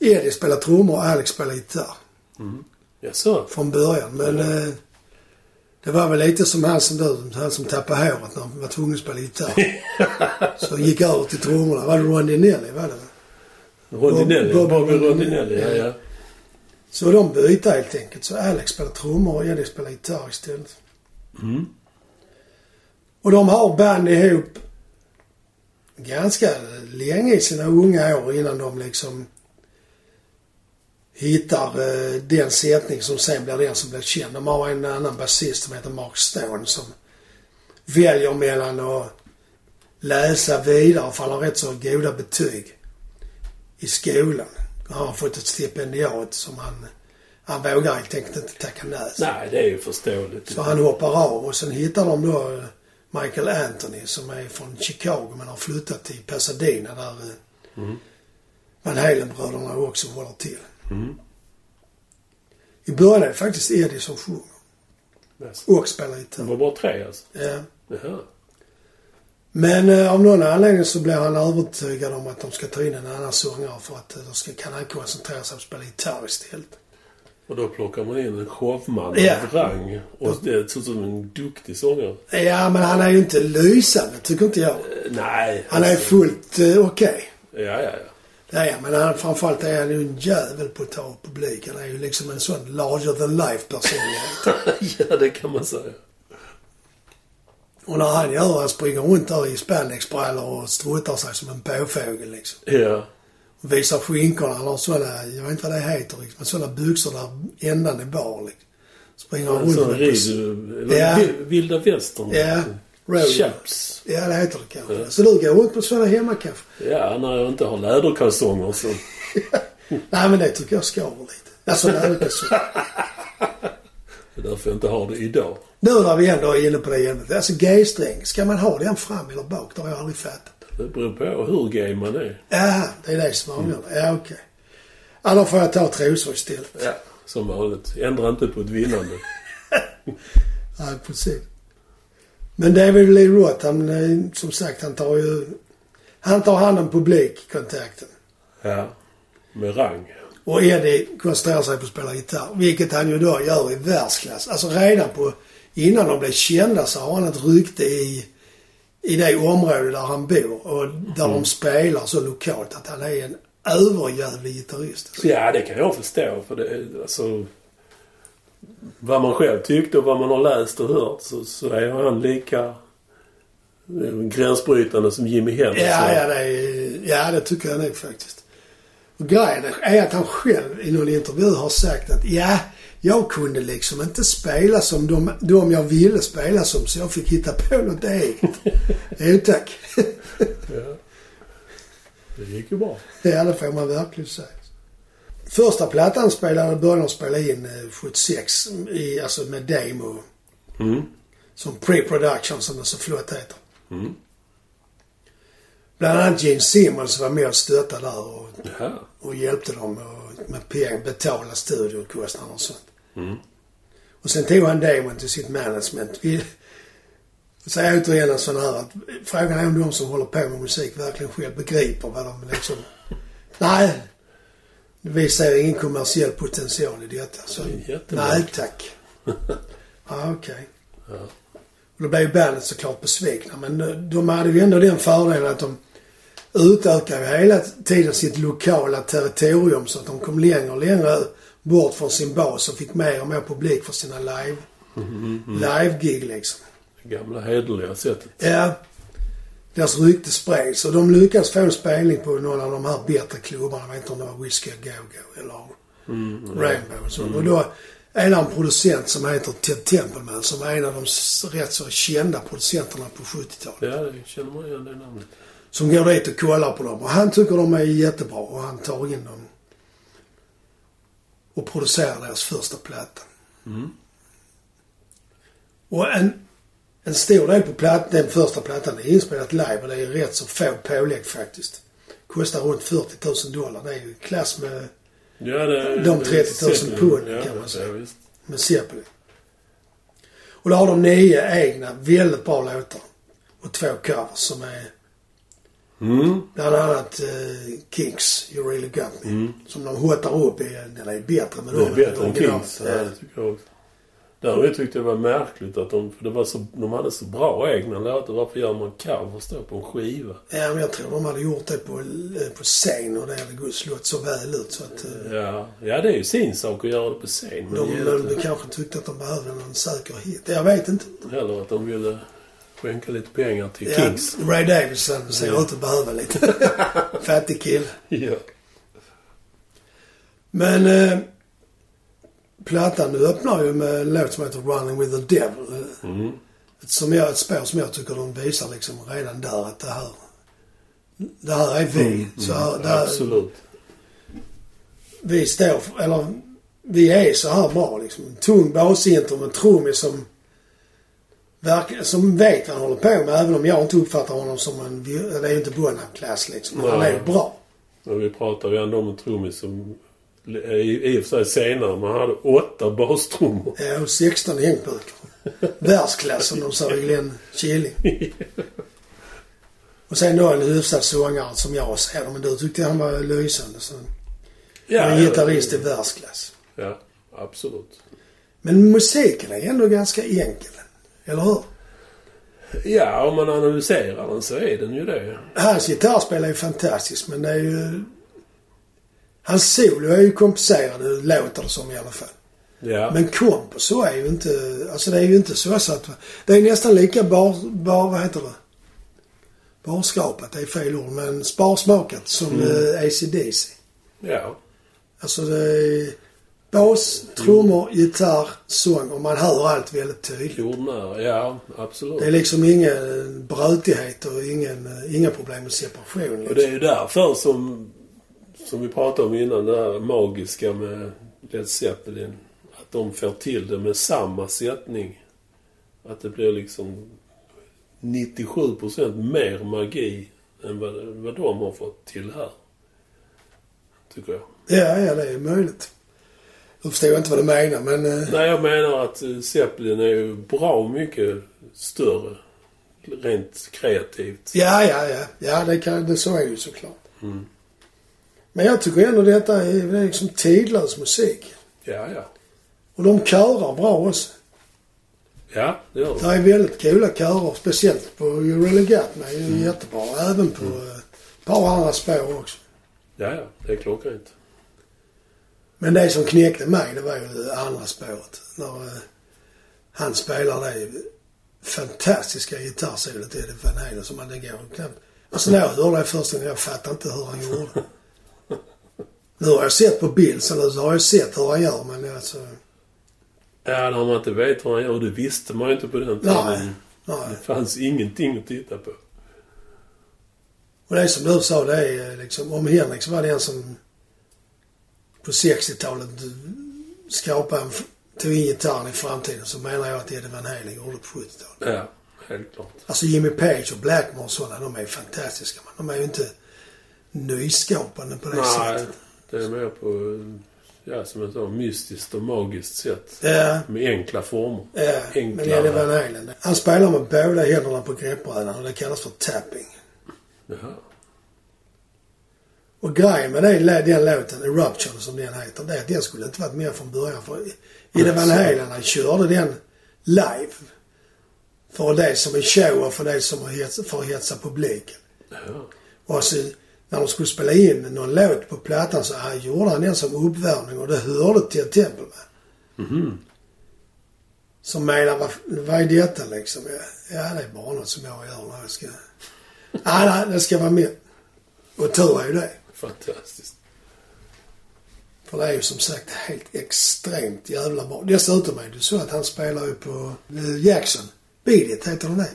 [SPEAKER 1] Eddie spelade trummor och Alex spelade gitarr
[SPEAKER 2] Ja, så.
[SPEAKER 1] från början. Men eh, det var väl lite som han som du, han som tappade håret när han var tvungen att spela gitarr. så gick över till trummorna. Var det Rondinelli? Var det?
[SPEAKER 2] Rondinelli.
[SPEAKER 1] Bob-
[SPEAKER 2] Bobby
[SPEAKER 1] Bob-
[SPEAKER 2] Rondinelli, ja, ja.
[SPEAKER 1] Så de bytte helt enkelt. Så Alex spelade trummor och Eddie spelade gitarr istället.
[SPEAKER 2] Mm.
[SPEAKER 1] Och de har band ihop ganska länge i sina unga år innan de liksom hittar eh, den sättning som sen blir den som blir känd. De har en annan basist som heter Mark Stone som väljer mellan att läsa vidare för han har rätt så goda betyg i skolan. Han har fått ett stipendiat som han, han vågar helt enkelt inte tacka nej.
[SPEAKER 2] Nej, det är ju förståeligt.
[SPEAKER 1] Så han hoppar av och sen hittar de då eh, Michael Anthony som är från Chicago men har flyttat till Pasadena där mm. Van Halen-bröderna också håller till.
[SPEAKER 2] Mm.
[SPEAKER 1] I början är det faktiskt Eddie som sjunger
[SPEAKER 2] Yes.
[SPEAKER 1] och spelar
[SPEAKER 2] Det
[SPEAKER 1] gitarr.
[SPEAKER 2] var bara tre alltså.
[SPEAKER 1] Ja.
[SPEAKER 2] Jaha.
[SPEAKER 1] Men eh, av någon anledning så blir han övertygad om att de ska ta in en annan sångare för att eh, då ska, kan han koncentrera sig på att spela gitarr istället.
[SPEAKER 2] Och då plockar man in en showman
[SPEAKER 1] Ja.
[SPEAKER 2] av rang. Och det ser ut som en duktig sångare.
[SPEAKER 1] Ja, men han är ju inte lysande, tycker inte jag.
[SPEAKER 2] Eh, Nej.
[SPEAKER 1] Han är
[SPEAKER 2] alltså.
[SPEAKER 1] fullt eh, okej.
[SPEAKER 2] Ja, ja, ja.
[SPEAKER 1] Det är han, men han, framförallt är han ju en jävel på att ta publik. Han är ju liksom en sån larger than life personlighet.
[SPEAKER 2] ja, det kan man säga.
[SPEAKER 1] Och när han gör han springer runt där i spandexbrallor och struttar sig som en påfågel liksom.
[SPEAKER 2] Ja.
[SPEAKER 1] Och visar skinkorna. Han har såna, jag vet inte vad det heter liksom, men såna byxor där ändan är bar liksom. Springer han
[SPEAKER 2] En
[SPEAKER 1] runt
[SPEAKER 2] sån
[SPEAKER 1] med... pers-
[SPEAKER 2] rid... Alltså, Eller
[SPEAKER 1] Ja.
[SPEAKER 2] vil- vilda västern.
[SPEAKER 1] Ja. Roadie.
[SPEAKER 2] Chaps.
[SPEAKER 1] Ja, det heter det kanske. Så du går runt på såna hemmakaffe.
[SPEAKER 2] Ja, när jag inte har läderkalsonger så...
[SPEAKER 1] Nej, men det tycker jag skaver lite. Alltså, det är så.
[SPEAKER 2] Det är därför jag inte har det idag.
[SPEAKER 1] Nu när vi ändå är inne på det ämnet. Alltså, G-sträng. Ska man ha den fram eller bak? Det har jag aldrig fattat.
[SPEAKER 2] Det beror på hur gay man är.
[SPEAKER 1] Ja, det är det som avgör. Ja, okej. Annars får jag ta trosor istället.
[SPEAKER 2] Ja. Som vanligt. Ändra inte på ett vinnande.
[SPEAKER 1] Ja, precis. Men David Lee Roth, han, eh, som sagt, han tar ju... Han tar hand om publikkontakten.
[SPEAKER 2] Ja. Med rang.
[SPEAKER 1] Och Eddie koncentrerar sig på att spela gitarr. Vilket han ju då gör i världsklass. Alltså redan på... Innan de blev kända så har han ett rykte i, i det område där han bor och där de spelar så lokalt att han är en överjävlig gitarrist.
[SPEAKER 2] Ja, det kan jag förstå. För det, är- alltså, vad man själv tyckte och vad man har läst och hört så, så är han lika eh, gränsbrytande som Jimi Hendrix.
[SPEAKER 1] Ja, ja, det, är- ja, det tycker jag nog faktiskt. Och grejen är att han själv i någon intervju har sagt att ja, jag kunde liksom inte spela som de, de jag ville spela som så jag fick hitta på något eget. jo tack.
[SPEAKER 2] Det gick ju bra.
[SPEAKER 1] ja, det får man verkligen säga. Första plattan spelade började de spela in eh, 76, i, alltså med demo.
[SPEAKER 2] Mm.
[SPEAKER 1] Som pre-production som det så flott heter. Bland annat Gene Simmons var med och stöttade där och
[SPEAKER 2] Ja.
[SPEAKER 1] och hjälpte dem och- med pengar, betala studiokostnader och sånt.
[SPEAKER 2] Mm.
[SPEAKER 1] Och sen tog han demon till sitt management. Vi säger återigen en sån här att frågan är om de som håller på med musik verkligen själv begriper vad de liksom... Nej! Vi ser ingen kommersiell potential i detta. Så,
[SPEAKER 2] Det är jättebra.
[SPEAKER 1] nej tack. ja, okej.
[SPEAKER 2] Ja.
[SPEAKER 1] Och då blev ju bandet såklart besvikna. Men eh, de hade ju ändå den fördelen att de utökade ju hela tiden sitt lokala territorium så att de kom längre och längre bort från sin bas och fick mer och mer publik för sina live, live-gig liksom.
[SPEAKER 2] Det gamla hederliga sättet.
[SPEAKER 1] Ja. Deras rykte spreds och de lyckades få en spelning på någon av de här bättre klubbarna. Jag vet inte om det var Whiskey Go-Go eller
[SPEAKER 2] Mm, ja.
[SPEAKER 1] Rainbow och så. Och då är det en producent som heter Ted Templeman som är en av de s- rätt så kända producenterna på 70-talet.
[SPEAKER 2] Ja, det känner man igen det namnet.
[SPEAKER 1] Som går dit och kollar på dem. Och han tycker de är jättebra och han tar in dem. Och producerar deras första platta.
[SPEAKER 2] Mm.
[SPEAKER 1] Och en, en stor del på platt, den första plattan är inspelat live och det är rätt så få pålägg faktiskt. Kostar runt 40 000 dollar. Det är ju i klass med,
[SPEAKER 2] Ja, det,
[SPEAKER 1] De 30 000
[SPEAKER 2] Zeppelin.
[SPEAKER 1] pund,
[SPEAKER 2] ja,
[SPEAKER 1] kan man säga.
[SPEAKER 2] Ja, visst.
[SPEAKER 1] med Zeppelin. Och då har de nio egna väldigt bra låtar. Och två covers som är
[SPEAKER 2] Mm.
[SPEAKER 1] Bland annat eh, Kings, You Really Got Me. Som de hotar upp i. Den är bättre men
[SPEAKER 2] Mm. Det är bättre än
[SPEAKER 1] originalet.
[SPEAKER 2] Kings.
[SPEAKER 1] Ja.
[SPEAKER 2] Ja, det tycker jag också. Däremot tyckte jag det var märkligt att de, för det var så, de hade så bra egna låtar. Varför gör man covers då på en skiva?
[SPEAKER 1] Ja, men jag tror de hade gjort det på, eh, på scen och det hade gått- slått så väl ut så att eh,
[SPEAKER 2] Ja, ja det är ju sin sak att göra det på scen. Men
[SPEAKER 1] de,
[SPEAKER 2] de,
[SPEAKER 1] de, kanske tyckte att de behövde någon säker hit. Jag vet inte.
[SPEAKER 2] Eller att de ville skänka lite pengar till
[SPEAKER 1] Ja,
[SPEAKER 2] Kings.
[SPEAKER 1] Ray Davidson ser
[SPEAKER 2] Ja.
[SPEAKER 1] ut att behöva lite. Fattig kill.
[SPEAKER 2] Ja.
[SPEAKER 1] Men eh, plattan nu öppnar ju med en låt som heter Running with the Devil. eh,
[SPEAKER 2] Mm.
[SPEAKER 1] som jag, ett spår som jag tycker de visar liksom redan där att det här, det här är vi. så här, det här,
[SPEAKER 2] Mm. Absolut.
[SPEAKER 1] vi står, för- eller vi är så här bra liksom. En tung basintro med en trummis som, verkligen- som vet vad han håller på med. Även om jag inte uppfattar honom som en, vi- det är ju inte Bonham-klass liksom. Men han är
[SPEAKER 2] Nej.
[SPEAKER 1] ju bra.
[SPEAKER 2] Och vi pratar ju ändå om en trummis som i i och för sig senare, men han hade åtta bastrummor.
[SPEAKER 1] Ja, och 16 hängpukor. Världsklass som de sa i Glenn Killing. Och sen då en hyfsad sångare som jag ser det, men du tyckte han var lysande. Så. en gitarrist i världsklass.
[SPEAKER 2] Ja, absolut.
[SPEAKER 1] Men musiken är ändå ganska enkel. Eller hur?
[SPEAKER 2] Ja, om man analyserar den så är den ju det.
[SPEAKER 1] Hans gitarrspel är ju fantastiskt men det är ju... Hans solo är ju komplicerad, låter det som i alla fall.
[SPEAKER 2] Ja.
[SPEAKER 1] Men komp och så är ju inte... Alltså det är ju inte så så att... Det är nästan lika bar... bar vad heter det? Barskrapat, det är fel ord, men sparsmakat som mm. ACDC.
[SPEAKER 2] Ja.
[SPEAKER 1] Alltså det är bas, trummor,
[SPEAKER 2] Mm.
[SPEAKER 1] gitarr, sång och man hör allt väldigt tydligt.
[SPEAKER 2] Jordnära, ja absolut.
[SPEAKER 1] Det är liksom ingen brötighet och ingen, eh, inga problem med separation. Liksom.
[SPEAKER 2] Och det är ju därför som, som vi pratade om innan, det här magiska med Led Zeppelin. Att de får till det med samma sättning. Att det blir liksom 97% mer magi än vad, vad de har fått till här. Tycker jag.
[SPEAKER 1] Ja, ja, det är möjligt. Då förstår jag inte vad du menar, men... eh,
[SPEAKER 2] Nej, jag menar att eh, Zeppelin är ju bra mycket större. Rent kreativt.
[SPEAKER 1] Ja, ja, ja. Ja, det, kan, det så är det ju såklart. Men jag tycker ändå detta är, det är liksom tidlös musik.
[SPEAKER 2] Ja, ja.
[SPEAKER 1] Och de körar bra också.
[SPEAKER 2] Ja, det gör
[SPEAKER 1] Det
[SPEAKER 2] det.
[SPEAKER 1] är väldigt coola körer, speciellt på You Really Got Me. är ju jättebra. Även på eh, ett par andra spår också.
[SPEAKER 2] Ja, ja. Det är klockrent.
[SPEAKER 1] Men det som knäckte mig, det var ju det andra spåret. När eh, han spelar det fantastiska gitarrsolot Eddie Van Halen som man det går knappt... Alltså när jag hörde det första gången, jag fattade inte hur han gjorde. Nu har jag sett på bild, så nu har jag sett hur han gör, men alltså...
[SPEAKER 2] Ja, när man inte vet vad han gör. Det visste man ju inte på den tiden.
[SPEAKER 1] Nej. Nej.
[SPEAKER 2] Det fanns ingenting att titta på.
[SPEAKER 1] Och det är som du sa, det är liksom... Om Henrik så var det en som på 60-talet skapade en... Tog in gitarren i framtiden, så menar jag att Eddie Van Halen gjorde på 70-talet.
[SPEAKER 2] Ja, helt klart.
[SPEAKER 1] Alltså Jimmy Page och Blackmore och sådana, de är ju fantastiska. Men de är ju inte nyskapande på det
[SPEAKER 2] Nej,
[SPEAKER 1] sättet.
[SPEAKER 2] det är mer på, ja, som jag sa, mystiskt och magiskt sätt.
[SPEAKER 1] Ja,
[SPEAKER 2] Med enkla former.
[SPEAKER 1] ja. Men
[SPEAKER 2] Enklare.
[SPEAKER 1] Eddie Van Halen. Han spelar med båda händerna på greppbrädan och det kallas för tapping.
[SPEAKER 2] Jaha.
[SPEAKER 1] Och grejen med den, den låten, Eruption som den heter, det är att den skulle inte varit med från början. För Eddie Van Halen, han körde den live. För det som en show och för det som att hetsa- för att hetsa publiken.
[SPEAKER 2] Ja.
[SPEAKER 1] Och så när de skulle spela in någon låt på plattan så han gjorde han den som uppvärmning och det hörde till Tempelman. Som menar, vad, vad är detta liksom? Ja, det är bara något som jag gör när jag ska... nej, nej, den ska vara min. Och tur är ju det.
[SPEAKER 2] Fantastiskt.
[SPEAKER 1] För det är ju som sagt helt extremt jävla bra. Dessutom är det ju så att han spelar ju på eh, Jackson. Beat It heter den det.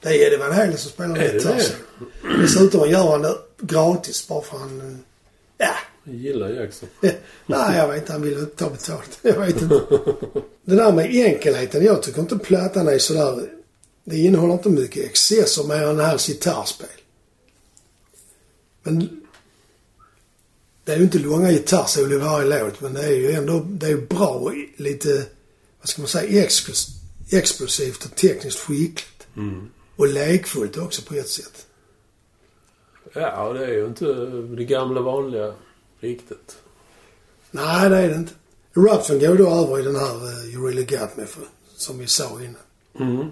[SPEAKER 1] Det är det Van Halen som spelar
[SPEAKER 2] Är det
[SPEAKER 1] gitarr.
[SPEAKER 2] det?
[SPEAKER 1] Dessutom gör han det gratis bara för han... eh, Ja,
[SPEAKER 2] Jag gillar Jackson.
[SPEAKER 1] Nej, jag vet inte. Han vill inte ta betalt. Jag vet inte. Det där med enkelheten. Jag tycker inte plattan är sådär... Det innehåller inte mycket excesser mer än hans gitarrspel. Men... Det är ju inte långa gitarrsolo i varje låt, men det är ju ändå det är ju bra och lite, vad ska man säga, exklus- explosivt och tekniskt skickligt. Och lekfullt också på ett sätt.
[SPEAKER 2] Ja, och det är ju inte det gamla vanliga riktigt.
[SPEAKER 1] Nej, det är det inte. Eruption går då över i den här eh, You Really Got Me, för, som vi sa innan.
[SPEAKER 2] Mm.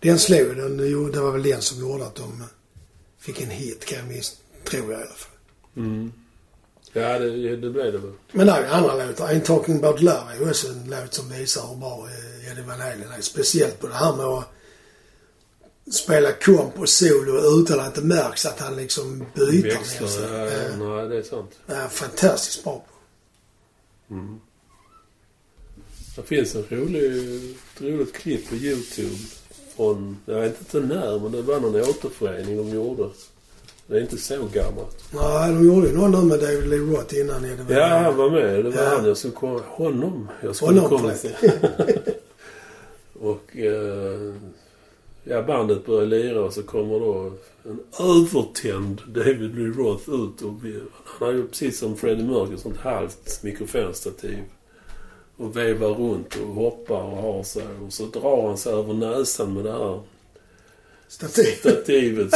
[SPEAKER 1] Den slog den, jo, det var väl den som gjorde att de eh, fick en hit kan jag minst, tror jag i alla fall.
[SPEAKER 2] Mm. Ja, det, det blev det väl.
[SPEAKER 1] Men där är andra låtar. I'm talking about love är ju också en låt som visar hur bra eh, Eddie Van Halen är. Speciellt på det här med att spela komp och solo utan att det märks att han liksom byter
[SPEAKER 2] Växlar, ja,
[SPEAKER 1] Eh,
[SPEAKER 2] ja, nej, det är sant.
[SPEAKER 1] Det är fantastiskt bra.
[SPEAKER 2] Det finns en rolig, ett roligt klipp på YouTube från, jag vet inte när, men det var någon återförening de gjorde. Det är inte så gammalt.
[SPEAKER 1] Nej, de gjorde ju någon nu med David Lee Roth innan Eddie Van
[SPEAKER 2] Ja, han
[SPEAKER 1] Halen.
[SPEAKER 2] var med. Det var
[SPEAKER 1] Ja.
[SPEAKER 2] han jag skulle komma... Honom. Jag skulle
[SPEAKER 1] Honom
[SPEAKER 2] komma
[SPEAKER 1] förresten.
[SPEAKER 2] Och... Eh, ja, bandet börjar lira och så kommer då en övertänd David Lee Roth ut. Och vi, han har ju precis som Freddie Mercury ett sånt halvt mikrofonstativ. Och vevar runt och hoppar och har sig. Och så drar han sig över näsan med det här
[SPEAKER 1] Stativ.
[SPEAKER 2] stativet.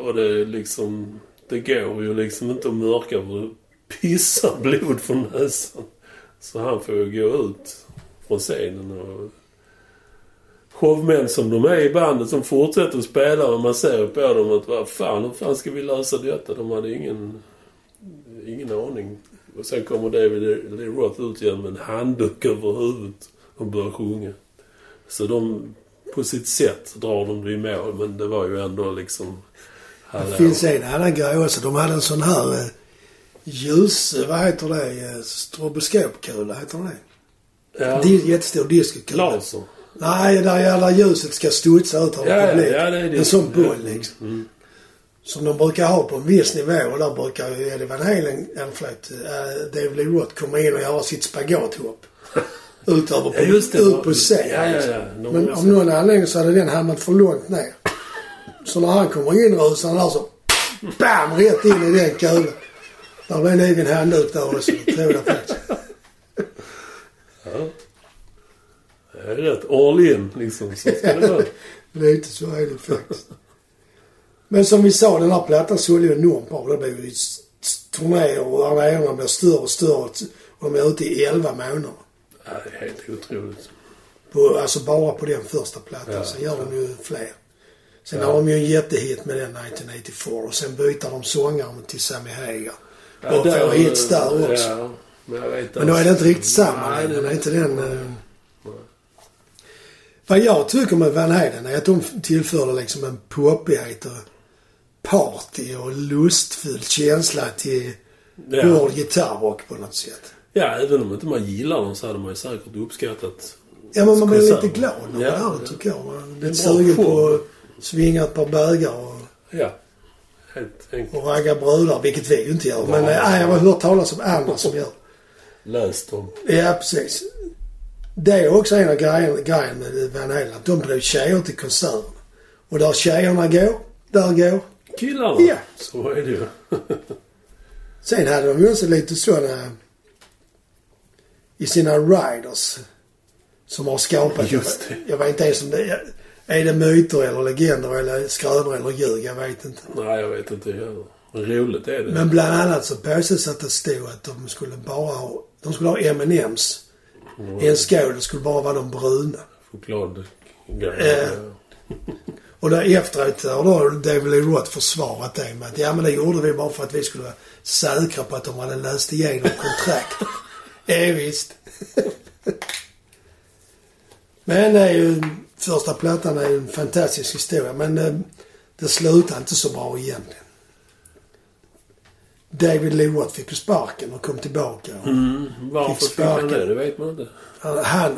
[SPEAKER 2] Och det är liksom... Det går ju liksom inte att mörka för det pissar blod från näsan. Så han får ju gå ut från scenen och... Showmän som de är i bandet som fortsätter att spela och man ser på dem att vad fan, hur fan ska vi lösa detta? De hade ingen, ingen aning. Och sen kommer David Lee Roth ut igen med en handduk över huvudet och börjar sjunga. Så de, på sitt sätt drar de det i mål, men det var ju ändå liksom...
[SPEAKER 1] Det
[SPEAKER 2] hallå.
[SPEAKER 1] finns en annan grej också. De hade en sån här eh, ljus... Vad heter det? Eh, Stroboskopkula, heter det
[SPEAKER 2] Ja,
[SPEAKER 1] det? Di- Jättestor diskokula.
[SPEAKER 2] Laser.
[SPEAKER 1] Nej, där jävla ljuset ska studsa ut över
[SPEAKER 2] Ja, ja,
[SPEAKER 1] publiken.
[SPEAKER 2] ja, det är det.
[SPEAKER 1] En sån boll
[SPEAKER 2] Ja. Mm,
[SPEAKER 1] liksom. Som de brukar ha på en viss nivå och där brukar ju Eddie Van Halen, eller förlåt, äh, David Lee Roth komma in och göra sitt spagathopp. Ut över på,
[SPEAKER 2] Ja, just det.
[SPEAKER 1] ut på scen.
[SPEAKER 2] Ja, ja,
[SPEAKER 1] liksom.
[SPEAKER 2] ja. De
[SPEAKER 1] Men
[SPEAKER 2] var
[SPEAKER 1] av någon anledning så hade den hamnat för långt ner. Så när han kommer in rusar han där så BAM! Rätt in i den kulan. Där blev en egen handduk där också. Det tror jag faktiskt.
[SPEAKER 2] Det är rätt all in, liksom. Så ska det vara.
[SPEAKER 1] Lite så är det faktiskt. Men som vi sa, den här plattan sålde ju enormt bra. Det blev ju s- s- turnéer och arenorna blev större och större. Och de är ute i 11 månader.
[SPEAKER 2] Ja, det är helt otroligt.
[SPEAKER 1] På, alltså bara på den första plattan.
[SPEAKER 2] Ja.
[SPEAKER 1] Sen gör de ju fler. Sen har de ju en jättehit med den 1984 och sen byter de sångaren till Sammy Hagar.
[SPEAKER 2] Ja,
[SPEAKER 1] och får hits där också.
[SPEAKER 2] Ja, men, jag vet
[SPEAKER 1] Men då är det inte riktigt samma
[SPEAKER 2] Nej,
[SPEAKER 1] längre.
[SPEAKER 2] det-
[SPEAKER 1] Det är inte den... eh, Vad jag tycker med Van Halen är att de tillförde liksom en poppighet och party och lustfylld känsla till
[SPEAKER 2] Ja.
[SPEAKER 1] hård gitarrrock på något sätt.
[SPEAKER 2] ja, även om inte man gillar dem så hade man ju säkert uppskattat.
[SPEAKER 1] Ja, men man blir
[SPEAKER 2] Konsert.
[SPEAKER 1] lite glad när
[SPEAKER 2] Ja,
[SPEAKER 1] man hör
[SPEAKER 2] ja.
[SPEAKER 1] det tycker jag. Man
[SPEAKER 2] Det är
[SPEAKER 1] blir
[SPEAKER 2] bra
[SPEAKER 1] sugen på
[SPEAKER 2] show.
[SPEAKER 1] att svinga ett par bögar och,
[SPEAKER 2] Ja, helt enkelt.
[SPEAKER 1] och ragga brudar, vilket vi ju inte gör. Men
[SPEAKER 2] Nej.
[SPEAKER 1] nej, jag har hört talas om andra som gör
[SPEAKER 2] Läs dem.
[SPEAKER 1] Ja, precis. Det är också en av grejerna, grejen med Van Halen. Att de blir tjejer till konserten. Och där tjejerna går, där går.
[SPEAKER 2] Killarna.
[SPEAKER 1] Ja.
[SPEAKER 2] Så är det ju.
[SPEAKER 1] Sen hade de ju också lite sådana i sina riders som har skapat...
[SPEAKER 2] Just det.
[SPEAKER 1] Jag vet inte ens om det är... Är det myter eller legender eller skrönor eller ljug? Jag vet inte.
[SPEAKER 2] Nej, jag vet inte heller. Men Roligt är det.
[SPEAKER 1] Men bland annat så påstås att det stod att de skulle bara ha... De skulle ha M&M's i en skål. Det skulle bara vara de bruna.
[SPEAKER 2] Chokladgrejer.
[SPEAKER 1] Eh. Och där efteråt har då David Lee Roth försvarat det med att ja men det gjorde vi bara för att vi skulle vara säkra på att de hade läst igenom kontraktet. ja, visst. men det är ju, första plattan är ju en fantastisk historia men eh, Det slutade inte så bra egentligen. David Lee Roth fick ju sparken och kom tillbaka. Och
[SPEAKER 2] Mm. Varför
[SPEAKER 1] Fick
[SPEAKER 2] fick han det?
[SPEAKER 1] sparken.
[SPEAKER 2] Det vet man inte.
[SPEAKER 1] Han,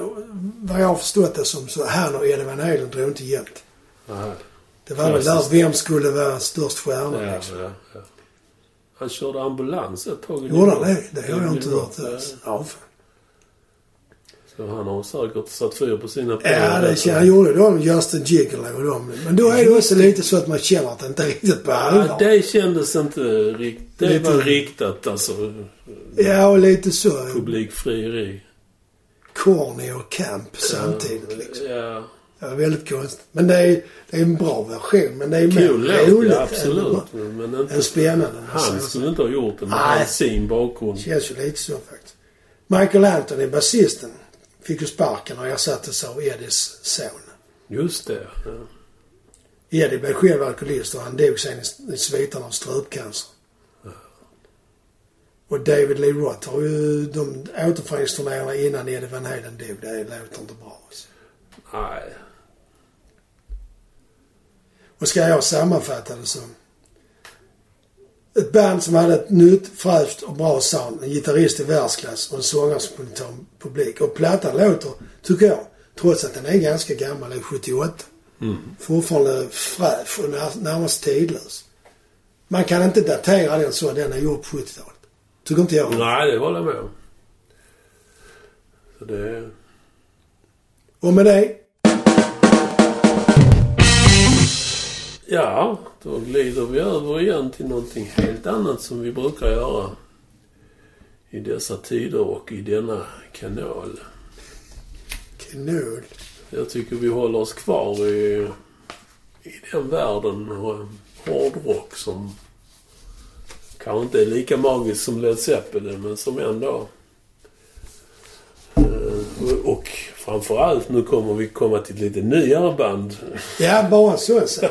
[SPEAKER 1] vad jag har förstått det som, så han och Eddie Van Halen drog inte jämnt.
[SPEAKER 2] Aha.
[SPEAKER 1] Det var väl där
[SPEAKER 2] Klassiskt.
[SPEAKER 1] vem skulle vara störst
[SPEAKER 2] Ja,
[SPEAKER 1] stjärna
[SPEAKER 2] ja,
[SPEAKER 1] liksom.
[SPEAKER 2] ja. Han körde ambulans ett tag. i New
[SPEAKER 1] Gjorde han
[SPEAKER 2] York.
[SPEAKER 1] det? Det har jag inte
[SPEAKER 2] New
[SPEAKER 1] hört
[SPEAKER 2] York.
[SPEAKER 1] alls. Ja,
[SPEAKER 2] Så han har säkert satt fyr på sina
[SPEAKER 1] Ja, det känner jag. gjorde de Justin Gigolo och de. Men då är det också lite så att man känner att det inte är riktigt på
[SPEAKER 2] Ja,
[SPEAKER 1] allvar.
[SPEAKER 2] det kändes inte riktigt... Det
[SPEAKER 1] Lite-
[SPEAKER 2] var riktat alltså.
[SPEAKER 1] Ja, och lite så.
[SPEAKER 2] Publikfrieri.
[SPEAKER 1] Corny och camp samtidigt liksom.
[SPEAKER 2] Ja.
[SPEAKER 1] Det var väldigt konstigt. Men det är, det är en bra version. Men det är mer
[SPEAKER 2] Kul låt,
[SPEAKER 1] roligt
[SPEAKER 2] ja,
[SPEAKER 1] än,
[SPEAKER 2] absolut. Men, men inte...
[SPEAKER 1] än spännande.
[SPEAKER 2] Han skulle inte ha gjort det med
[SPEAKER 1] Nej.
[SPEAKER 2] hans sin bakgrund.
[SPEAKER 1] Det känns ju lite så faktiskt. Michael Anthony, basisten, fick ju sparken och ersattes av Eddies son.
[SPEAKER 2] Just det. Ja.
[SPEAKER 1] Eddie blev själv alkoholist och han dog sen i- i sviterna av strupcancer. Och David Lee Roth har ju de återföreningsturnéerna innan Eddie Van Halen dog. Det låter inte bra. Alltså.
[SPEAKER 2] Nej.
[SPEAKER 1] Och ska jag sammanfatta det så. Ett band som hade ett nytt, fräscht och bra sound. En gitarrist i världsklass och en sångare som kunde ta en publik. Och plattan låter, tycker jag, trots att den är ganska gammal, den är 78. Fortfarande fräsch och när- närmast tidlös. Man kan inte datera den så den är gjord på 70-talet. Tycker inte jag.
[SPEAKER 2] Nej, det håller jag med om. Så det...
[SPEAKER 1] Och med det
[SPEAKER 2] Ja, då glider vi över igen till någonting helt annat som vi brukar göra i dessa tider och i denna kanal.
[SPEAKER 1] Knull.
[SPEAKER 2] Jag tycker vi håller oss kvar i, i den världen och hårdrock som kanske inte är lika magisk som Led Zeppelin men som ändå... eh, och- Och framförallt nu kommer vi komma till ett lite nyare band.
[SPEAKER 1] Ja, bara så sak.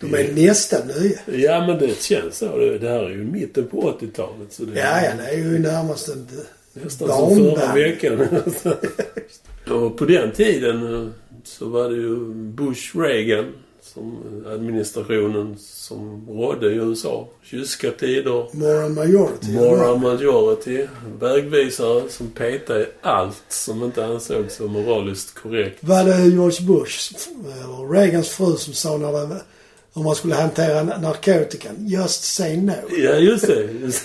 [SPEAKER 1] De är nästan nya.
[SPEAKER 2] Ja men det känns så. Det det här är ju mitten på 80-talet. Så det
[SPEAKER 1] Ja, ja, det är ju närmast en
[SPEAKER 2] Nästan som förra
[SPEAKER 1] Barnvagn.
[SPEAKER 2] veckan. och på den tiden eh, så var det ju Bush-Reagan som eh, administrationen som rådde i USA. Kyska tider,
[SPEAKER 1] Moral Majority.
[SPEAKER 2] moral majority, vägvisare som petade i allt som inte ansågs vara moraliskt korrekt.
[SPEAKER 1] Var det George Bush, eh, och Reagans fru, som sa när det, om man skulle hantera narkotikan? Just say no.
[SPEAKER 2] Ja, just det. Just.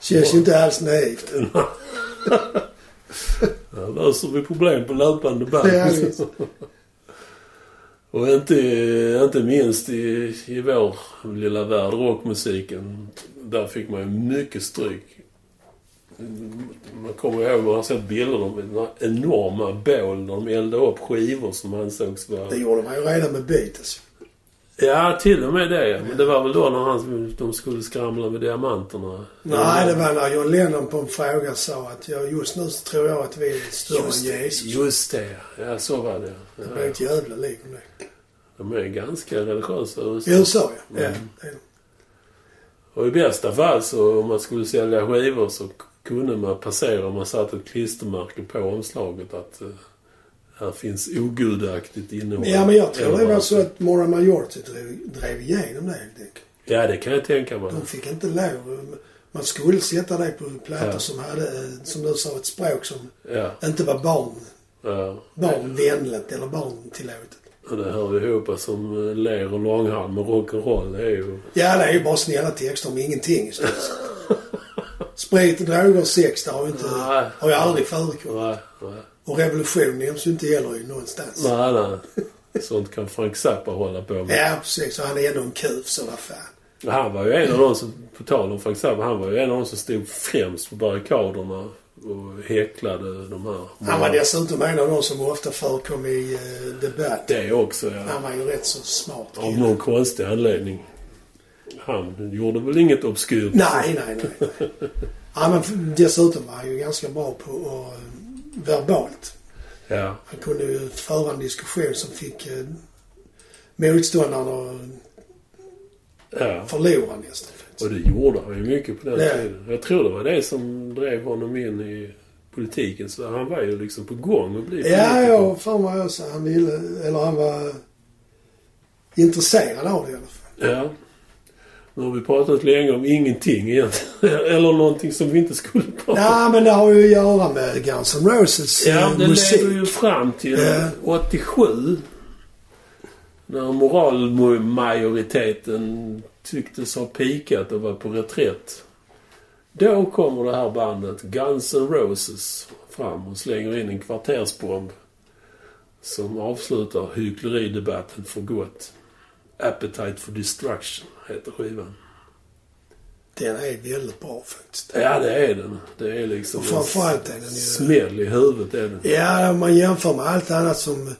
[SPEAKER 1] Känns ju inte alls naivt.
[SPEAKER 2] Här löser vi problem på löpande band.
[SPEAKER 1] Ja, visst.
[SPEAKER 2] Och inte, inte minst i, i vår lilla värld, rockmusiken. Där fick man ju mycket stryk. Man kommer ihåg, man har sett bilder om den här enorma bål när de eldade upp skivor som ansågs vara...
[SPEAKER 1] Det gjorde man ju redan med Beatles.
[SPEAKER 2] Ja, till och med det. Men det var väl då när han, de skulle skramla med diamanterna.
[SPEAKER 1] Nej, det var när John Lennon på en fråga sa att jag, just nu så tror jag att vi är större än Jesus.
[SPEAKER 2] Just det, ja så var det.
[SPEAKER 1] Det
[SPEAKER 2] Ja,
[SPEAKER 1] blev ett jävla liv om det.
[SPEAKER 2] de är ganska religiösa
[SPEAKER 1] I USA, ja. ja.
[SPEAKER 2] Mm.
[SPEAKER 1] det är det.
[SPEAKER 2] Och i bästa fall så om man skulle sälja skivor så kunde man passera om man satte ett klistermärke på omslaget att eh, här finns ogudaktigt innehåll.
[SPEAKER 1] Ja, men jag tror det
[SPEAKER 2] Eller
[SPEAKER 1] var
[SPEAKER 2] att-
[SPEAKER 1] så att Moral Majority drev, drev igenom det helt enkelt.
[SPEAKER 2] Ja, det kan jag tänka mig.
[SPEAKER 1] De fick inte lov. Man skulle sätta det på plattor
[SPEAKER 2] Ja.
[SPEAKER 1] som hade, eh, som du sa, ett språk som
[SPEAKER 2] Ja,
[SPEAKER 1] inte var barn,
[SPEAKER 2] ja.
[SPEAKER 1] barnvänligt eller barntillåtet.
[SPEAKER 2] Och det hör ju ihop som eh, ler och långhalm med rock'n'roll. Det är ju...
[SPEAKER 1] Ja, det är ju bara snälla texter om ingenting i stort sett. Sprit, droger och sex, det har ju, inte,
[SPEAKER 2] Nej.
[SPEAKER 1] har ju aldrig förekommit.
[SPEAKER 2] Nej, nej.
[SPEAKER 1] Och revolution nämns ju inte heller i någonstans.
[SPEAKER 2] Nej, nej. Sånt kan Frank Zappa hålla på med.
[SPEAKER 1] Ja, precis. Och han är ändå en kuf, så vad fan.
[SPEAKER 2] Han var ju en av de som, på tal om Frank Zappa, han var ju en av de som stod främst på barrikaderna och häcklade de här.
[SPEAKER 1] Han var dessutom en av de som ofta förekom i eh, debatt.
[SPEAKER 2] Det också, ja.
[SPEAKER 1] Han var ju rätt så smart.
[SPEAKER 2] Av
[SPEAKER 1] kille.
[SPEAKER 2] någon konstig anledning. Han gjorde väl inget obskyrt?
[SPEAKER 1] Nej, nej, nej. nej. ja, men dessutom var han ju ganska bra på att eh, verbalt.
[SPEAKER 2] Ja.
[SPEAKER 1] Han kunde ju föra en diskussion som fick eh, motståndaren
[SPEAKER 2] ja.
[SPEAKER 1] att förlora nästan.
[SPEAKER 2] Och det gjorde han ju mycket på den
[SPEAKER 1] Ja.
[SPEAKER 2] tiden. Jag tror det var det som drev honom in i politiken. Så han var ju liksom på gång att bli
[SPEAKER 1] Ja,
[SPEAKER 2] politiker.
[SPEAKER 1] jag har för mig också. Han ville, eller han var intresserad av det i alla fall.
[SPEAKER 2] Ja. Nu har vi pratat länge om ingenting egentligen. Eller någonting som vi inte skulle prata om.
[SPEAKER 1] Nej, men det har ju att göra med Guns N' Roses
[SPEAKER 2] Ja,
[SPEAKER 1] eh,
[SPEAKER 2] det
[SPEAKER 1] musik.
[SPEAKER 2] leder ju fram till
[SPEAKER 1] Ja.
[SPEAKER 2] 87. När moralmajoriteten tycktes ha pikat och var på reträtt. Då kommer det här bandet Guns N' Roses fram och slänger in en kvartersbomb. Som avslutar hyckleridebatten för gott. Appetite for Destruction heter skivan.
[SPEAKER 1] Den är väldigt bra faktiskt.
[SPEAKER 2] Ja, det är den. Det är liksom...
[SPEAKER 1] Och framförallt är den ju...
[SPEAKER 2] Smäll i huvudet är den.
[SPEAKER 1] Ja, om man jämför med allt annat som...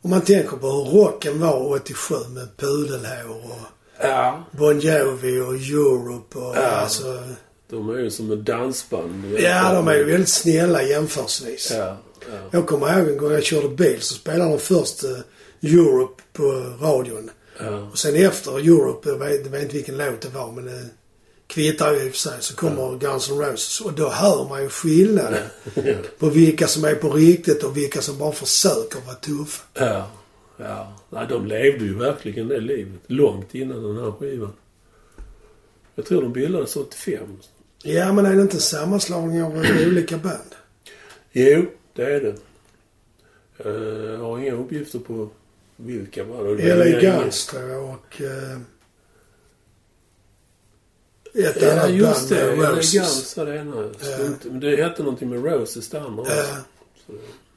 [SPEAKER 1] Om man tänker på hur rocken var 87 med pudelhår och
[SPEAKER 2] Ja.
[SPEAKER 1] Bon Jovi och Europe och alltså...
[SPEAKER 2] De är ju som ett dansband. du vet.
[SPEAKER 1] Ja, de är ju väldigt snälla jämförelsevis.
[SPEAKER 2] Ja, ja.
[SPEAKER 1] Jag kommer ihåg en gång jag körde bil så spelade de först eh, Europe på radion.
[SPEAKER 2] ja.
[SPEAKER 1] Och sen efter Europe, jag vet, jag vet inte vilken låt det var men det kvittar ju i och för sig, så kommer Guns N' Roses. Och då hör man ju skillnaden på vilka som är på riktigt och vilka som bara försöker vara tuffa.
[SPEAKER 2] ja. ja. Nej, de levde ju verkligen det livet. Långt innan den här skivan. Jag tror de bildades 85.
[SPEAKER 1] Ja, men är det inte en sammanslagning av olika band?
[SPEAKER 2] Jo, det är det. Eh, Jag har inga uppgifter på vilka var det. Det var
[SPEAKER 1] LA
[SPEAKER 2] inga-
[SPEAKER 1] Guns tror jag och... Eh, ett
[SPEAKER 2] Ja,
[SPEAKER 1] annat band,
[SPEAKER 2] just det.
[SPEAKER 1] eh,
[SPEAKER 2] LA
[SPEAKER 1] Roses.
[SPEAKER 2] Guns var det ena. Strunt- Men det hette någonting med Roses, det andra också.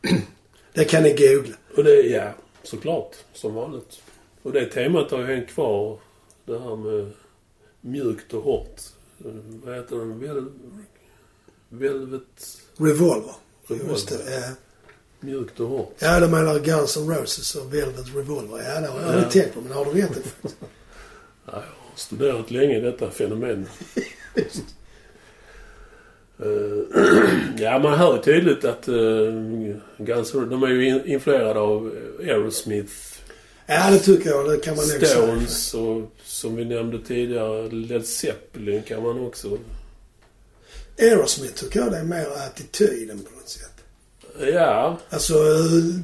[SPEAKER 1] Eh, det kan ni googla.
[SPEAKER 2] Och det, ja, såklart. Som vanligt. Och det temat har ju hängt kvar. Det här med mjukt och hårt. Eh, Vad heter den? Vel, velvet...
[SPEAKER 1] Revolver.
[SPEAKER 2] Revolver.
[SPEAKER 1] Just det. eh.
[SPEAKER 2] Mjukt och hårt.
[SPEAKER 1] Ja, de menar Guns N' Roses och Velvet Revolver. Ja, det har jag inte tänkt på, men har du rätt i faktiskt.
[SPEAKER 2] Ja, jag har studerat länge detta fenomen. Eh, ja, man hör tydligt att uh, Guns N' Roses- de är ju in, influerade av Aerosmith,
[SPEAKER 1] Ja, det tycker jag. Det kan man nog säga.
[SPEAKER 2] Stones och som vi nämnde tidigare Led Zeppelin kan man också
[SPEAKER 1] Aerosmith tycker jag det är mer attityden på något sätt.
[SPEAKER 2] Ja,
[SPEAKER 1] Alltså,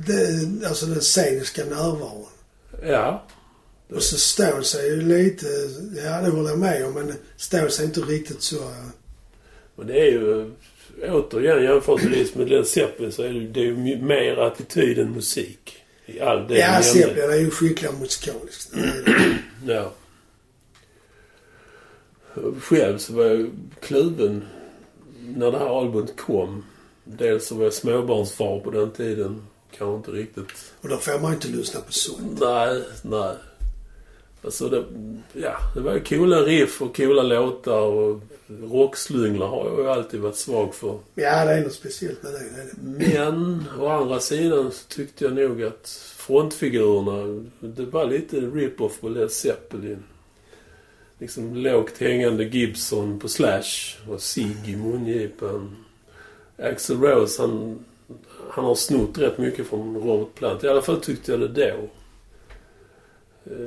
[SPEAKER 1] det, alltså den sceniska närvaron.
[SPEAKER 2] ja.
[SPEAKER 1] Och så Stones är ju lite... Ja, det håller jag med om, men Stones är inte riktigt så... eh,
[SPEAKER 2] Men det är ju... Återigen jämförelsevis med Led Zeppelin så är det, ju- det är ju my- mer attityd än musik. I all
[SPEAKER 1] Ja,
[SPEAKER 2] det vi nämnde.
[SPEAKER 1] Zeppelin är ju skickliga musikaliskt. Det är det.
[SPEAKER 2] Ja. Själv så var jag kluven när det här albumet kom. Dels så var jag småbarnsfar på den tiden. Kanske inte riktigt...
[SPEAKER 1] Och då får man ju inte lyssna på sånt.
[SPEAKER 2] Nej, nej. Alltså det, ja, det var ju coola riff och coola låtar och rockslungor har jag ju alltid varit svag för.
[SPEAKER 1] Ja, det är något speciellt med det. det, är det.
[SPEAKER 2] Men å andra sidan så tyckte jag nog att frontfigurerna, det var lite rip-off på Led Zeppelin. Liksom lågt hängande Gibson på Slash och Ziggy i mungipan. Axel Rose, han, han har snott rätt mycket från Robert Plant. I alla fall tyckte jag det då.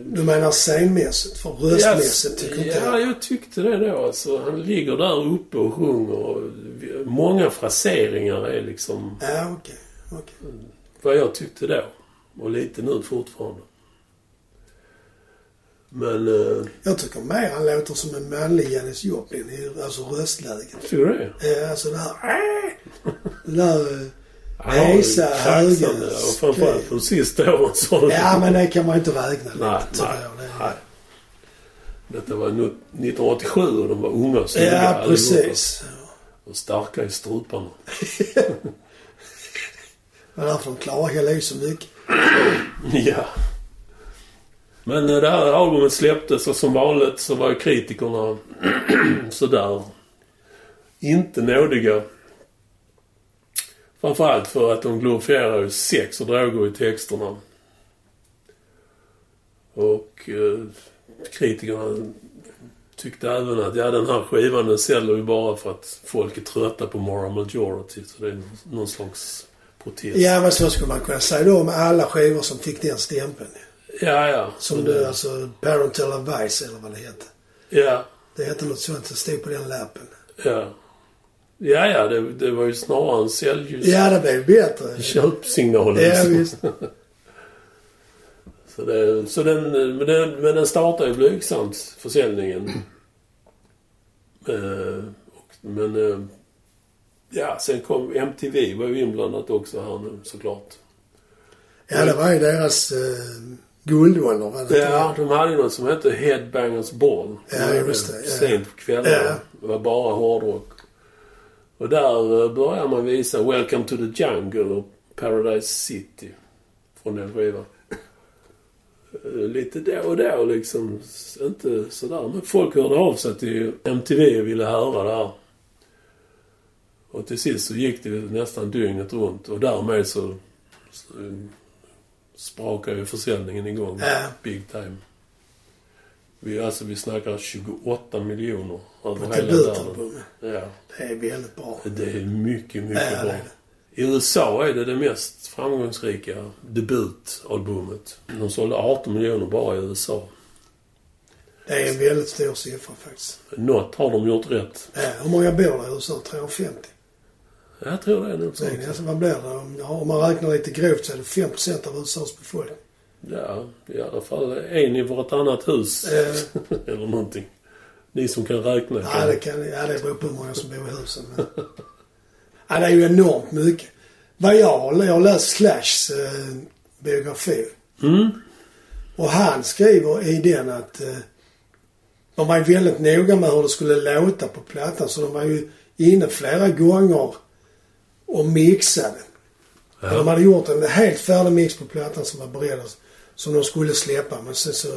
[SPEAKER 1] Du menar scenmässigt? För röstmässigt tycker inte
[SPEAKER 2] ja,
[SPEAKER 1] jag.
[SPEAKER 2] jag tyckte det då. Alltså, han ligger där uppe och sjunger. Och många fraseringar är liksom...
[SPEAKER 1] Ja, okej. okej.
[SPEAKER 2] vad jag tyckte då. Och lite nu fortfarande. Men... Eh,
[SPEAKER 1] Jag tycker mer han låter som en manlig Janis Joplin, i- alltså röstläget.
[SPEAKER 2] tycker du det?
[SPEAKER 1] Eh, Alltså det här... Det där... eh,
[SPEAKER 2] Han har ju
[SPEAKER 1] Hejsa,
[SPEAKER 2] kraxande,
[SPEAKER 1] höger,
[SPEAKER 2] Och framförallt de sista åren så har det-
[SPEAKER 1] Ja, men det kan man inte räkna
[SPEAKER 2] Nej,
[SPEAKER 1] riktigt,
[SPEAKER 2] nej,
[SPEAKER 1] tycker jag. Det-
[SPEAKER 2] nej. Detta var nu 1987 och de var unga och snygga
[SPEAKER 1] Ja,
[SPEAKER 2] allihopa.
[SPEAKER 1] precis.
[SPEAKER 2] Och starka i struparna.
[SPEAKER 1] Det var därför de klagade ju så mycket.
[SPEAKER 2] Ja. Men eh, det här albumet släpptes och som vanligt så var ju kritikerna sådär. Inte nådiga. Framförallt för att de glorifierar ju sex och droger i texterna. Och eh, kritikerna tyckte även att ja, den här skivan den säljer ju bara för att folk är trötta på Moral Majority. Så det är någon slags protest.
[SPEAKER 1] Ja, men så skulle man kunna säga då med alla skivor som fick den stämpeln.
[SPEAKER 2] Ja, ja.
[SPEAKER 1] Som du, alltså Parental Advice eller vad det hette.
[SPEAKER 2] Ja.
[SPEAKER 1] Det hette något sånt som stod på den lappen.
[SPEAKER 2] Ja. Ja, ja, det, det var ju snarare en säljus...
[SPEAKER 1] Ja, det blev bättre.
[SPEAKER 2] Köpsignal.
[SPEAKER 1] Ja, visst.
[SPEAKER 2] Så det, så den, men, den, men den startar ju blygsamt, försäljningen. Eh, och, men... eh, Ja, sen kom MTV var ju inblandat också här nu såklart.
[SPEAKER 1] Ja, det var ju deras eh, guldålder. var det inte?
[SPEAKER 2] Ja, de hade ju något som hette Headbangers Ball.
[SPEAKER 1] Ja, just det, ja.
[SPEAKER 2] Sent på kvällarna.
[SPEAKER 1] Ja.
[SPEAKER 2] Det var bara hårdrock. Och där eh, började man visa Welcome to the Jungle och Paradise City. Från den skivan. Eh, Lite då och då liksom. S- Inte sådär. Men folk hörde av sig till MTV och ville höra det här. Och till sist så gick det nästan dygnet runt. Och därmed så, så eh, sprakade ju försäljningen igång.
[SPEAKER 1] Ja.
[SPEAKER 2] Big time. Vi, alltså vi snackar 28 miljoner över
[SPEAKER 1] Ett
[SPEAKER 2] hela världen.
[SPEAKER 1] Debutalbum.
[SPEAKER 2] Ja,
[SPEAKER 1] Det är väldigt bra.
[SPEAKER 2] det är mycket, mycket
[SPEAKER 1] Ja, det är
[SPEAKER 2] bra. I USA är det det mest framgångsrika debutalbumet. De sålde 18 miljoner bara i USA.
[SPEAKER 1] Det är en väldigt stor siffra faktiskt.
[SPEAKER 2] Något har de gjort rätt.
[SPEAKER 1] Ja, hur många bor det i USA? 350?
[SPEAKER 2] Jag tror det är något
[SPEAKER 1] Så
[SPEAKER 2] sånt.
[SPEAKER 1] det är, alltså, vad blir det? Om, ja, om man räknar lite grovt så är det 5 av USAs befolkning.
[SPEAKER 2] Ja, i alla fall en i vartannat hus.
[SPEAKER 1] Eh.
[SPEAKER 2] Eller någonting. Ni som kan räkna.
[SPEAKER 1] Ja, det, kan, ja, det beror på hur många som bor i husen. Men... Ja, det är ju enormt mycket. Vad jag, jag har läst Slashs eh, biografi.
[SPEAKER 2] Mm.
[SPEAKER 1] Och han skriver i den att eh, de var ju väldigt noga med hur det skulle låta på plattan. Så de var ju inne flera gånger och mixade.
[SPEAKER 2] Ja.
[SPEAKER 1] De hade gjort en helt färdig mix på plattan som var beredd att- som de skulle släppa. Men sen så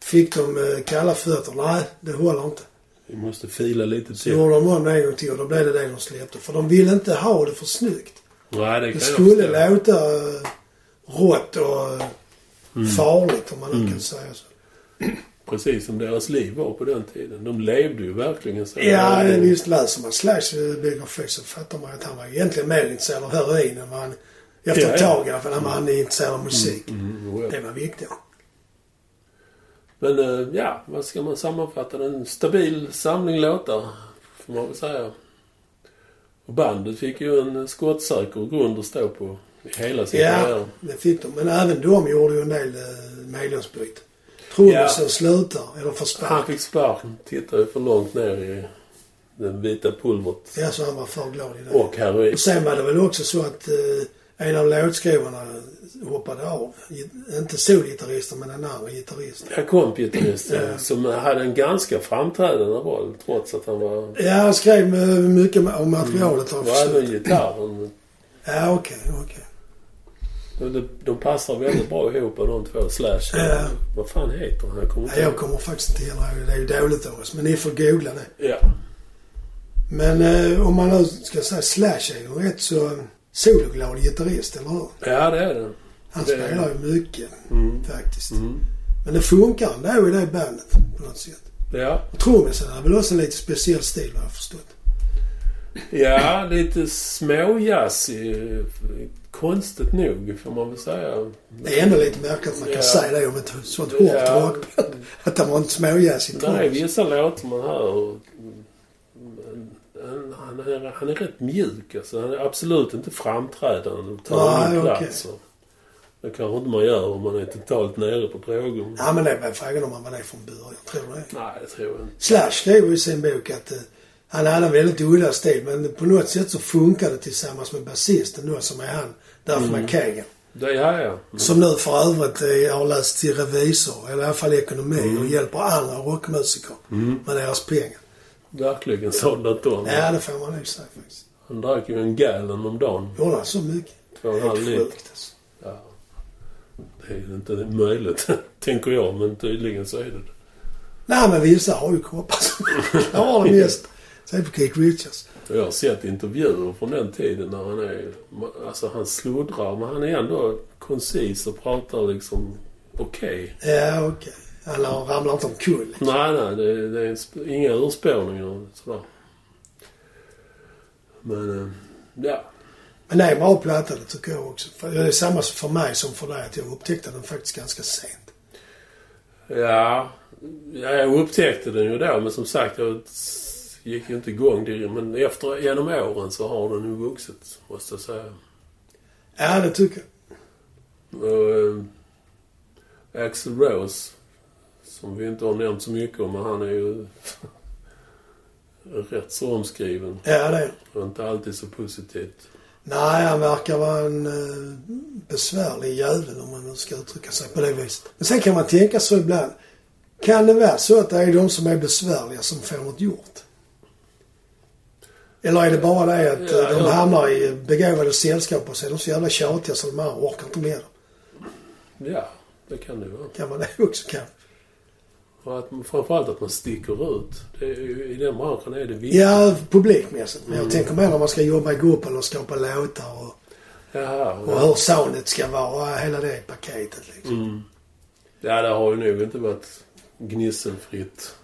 [SPEAKER 1] fick de eh, kalla fötter. Nej, det håller inte.
[SPEAKER 2] Vi måste fila lite
[SPEAKER 1] Så
[SPEAKER 2] till.
[SPEAKER 1] gjorde de om det en gång till och då blev det det de släppte. För de ville inte ha det för snyggt.
[SPEAKER 2] Nej, det kan
[SPEAKER 1] Det
[SPEAKER 2] jag förstå.
[SPEAKER 1] skulle låta eh, rått och eh,
[SPEAKER 2] Mm.
[SPEAKER 1] farligt om man nu kan säga så.
[SPEAKER 2] Precis som deras liv var på den tiden. De levde ju verkligen så.
[SPEAKER 1] Ja,
[SPEAKER 2] De-
[SPEAKER 1] visst läser man Slashs eh, biografi så fattar man att han var egentligen mer intresserad av heroin än vad han... Efter ett
[SPEAKER 2] Ja, ja.
[SPEAKER 1] tag i alla fall, han var intresserad av musik.
[SPEAKER 2] Mm, jo,
[SPEAKER 1] Det
[SPEAKER 2] ja.
[SPEAKER 1] var viktigt.
[SPEAKER 2] Men eh, ja, vad ska man sammanfatta En stabil samling låtar, får man väl säga. Och bandet fick ju en skottsäker grund att stå på i hela sin
[SPEAKER 1] Ja,
[SPEAKER 2] karriär.
[SPEAKER 1] det fick de. Men även de gjorde ju en del eh, medlemsbyte. Trummisen
[SPEAKER 2] Ja.
[SPEAKER 1] slutar, eller får
[SPEAKER 2] Han
[SPEAKER 1] sparken.
[SPEAKER 2] fick sparken. Tittade ju för långt ner i den vita pulvret.
[SPEAKER 1] Ja, så han var för glad i det.
[SPEAKER 2] Och heroin.
[SPEAKER 1] Och sen var det väl också så att eh, en av låtskrivarna hoppade av. Gi- Inte sologitarristen, men den andra gitarristen.
[SPEAKER 2] Här kom gitarristen eh, som hade en ganska framträdande roll trots att han var...
[SPEAKER 1] Ja, han skrev eh, mycket ma- om materialet. har jag
[SPEAKER 2] Och
[SPEAKER 1] förstått.
[SPEAKER 2] även gitarren.
[SPEAKER 1] Ja, okej, okej.
[SPEAKER 2] De, de passar väldigt bra ihop de två. Slash.
[SPEAKER 1] Ja.
[SPEAKER 2] Vad fan heter han? Jag kommer
[SPEAKER 1] Ja,
[SPEAKER 2] inte
[SPEAKER 1] jag kommer faktiskt inte ihåg det. Det är ju dåligt av oss, men ni får googla det.
[SPEAKER 2] Ja.
[SPEAKER 1] Men eh, om man nu ska säga Slash är ju en rätt så eh, sologlad gitarrist, eller hur?
[SPEAKER 2] ja, det är det.
[SPEAKER 1] Han
[SPEAKER 2] Det-
[SPEAKER 1] spelar ju mycket, faktiskt.
[SPEAKER 2] Mm.
[SPEAKER 1] Men det funkar ändå i det bandet på något sätt.
[SPEAKER 2] Ja.
[SPEAKER 1] Och Trummisen har väl också en lite speciell stil, har jag förstått.
[SPEAKER 2] ja, lite småjazzig. Konstigt nog, får man väl säga.
[SPEAKER 1] Det är ändå lite märkligt att man
[SPEAKER 2] Ja.
[SPEAKER 1] kan säga det om ett sånt hårt
[SPEAKER 2] Ja.
[SPEAKER 1] rockband. Att det var en småjazzig
[SPEAKER 2] Det är
[SPEAKER 1] trummis.
[SPEAKER 2] vissa låtar man hör. Han, han, är, han är rätt mjuk alltså. Han är absolut inte framträdande och tar
[SPEAKER 1] Nej,
[SPEAKER 2] ingen
[SPEAKER 1] okej.
[SPEAKER 2] plats. och- Det kanske inte man gör om man är totalt nere på droger.
[SPEAKER 1] Ja, men det är väl frågan om man var det från början. Tror du det?
[SPEAKER 2] Nej, det tror jag inte.
[SPEAKER 1] Slash skrev i sin bok att eh, han hade en väldigt udda stil men på något sätt så funkade det tillsammans med basisten då som är han, därför
[SPEAKER 2] Mm.
[SPEAKER 1] med Kagan.
[SPEAKER 2] Det är jag.
[SPEAKER 1] Som nu för övrigt eh, har läst till revisor, eller i alla fall ekonomi,
[SPEAKER 2] Mm.
[SPEAKER 1] och hjälper andra rockmusiker med deras pengar.
[SPEAKER 2] Verkligen sådant då.
[SPEAKER 1] Ja, det får man nog säga faktiskt.
[SPEAKER 2] Han drack ju en gallon om dagen.
[SPEAKER 1] Gjorde han så mycket?
[SPEAKER 2] Två och en halv
[SPEAKER 1] Helt
[SPEAKER 2] liter.
[SPEAKER 1] sjukt alltså.
[SPEAKER 2] Ja. Det är ju inte möjligt, tänker jag. Men tydligen så är det det.
[SPEAKER 1] Nej, men vissa har ju kroppar som klarar det mest. Säg på Keith Richards.
[SPEAKER 2] Och Jag har sett intervjuer från den tiden när han är... Alltså han sluddrar, men han är ändå koncis och pratar liksom okej.
[SPEAKER 1] Ja, okej. Han ramlar inte omkull.
[SPEAKER 2] Nej, nej, det, det är sp- inga urspårningar och sådär. Men, eh, ja.
[SPEAKER 1] Men det är en bra platta, det tycker jag också. För det är samma för mig som för dig, att jag upptäckte den faktiskt ganska sent.
[SPEAKER 2] Ja, ja, jag upptäckte den ju då, men som sagt, jag s- gick ju inte igång direkt. Men efter, genom åren så har den ju vuxit, måste jag säga.
[SPEAKER 1] Ja, det tycker jag.
[SPEAKER 2] Och, eh, Axel Rose, som vi inte har nämnt så mycket om, men han är ju rätt så omskriven.
[SPEAKER 1] Ja, det är
[SPEAKER 2] Och inte alltid så positivt.
[SPEAKER 1] Nej, han verkar vara en eh, besvärlig jävel om man nu ska uttrycka sig på det viset. Men sen kan man tänka så ibland. Kan det vara så att det är de som är besvärliga som får något gjort? Eller är det bara det att eh,
[SPEAKER 2] Ja,
[SPEAKER 1] de
[SPEAKER 2] ja.
[SPEAKER 1] hamnar i begåvade sällskap och så är de så jävla tjatiga så de här orkar inte med dem?
[SPEAKER 2] Ja, det kan det vara.
[SPEAKER 1] Kan man det också kanske?
[SPEAKER 2] Och att, framförallt att man sticker ut. Det är, ju- I den branschen är det viktigt.
[SPEAKER 1] Ja, publikmässigt. Men jag tänker mer när man ska jobba i gruppen och skapa låtar och,
[SPEAKER 2] Ja,
[SPEAKER 1] och hur soundet ska vara. Hela det paketet liksom.
[SPEAKER 2] Mm. Ja, det har ju nog inte varit gnisselfritt.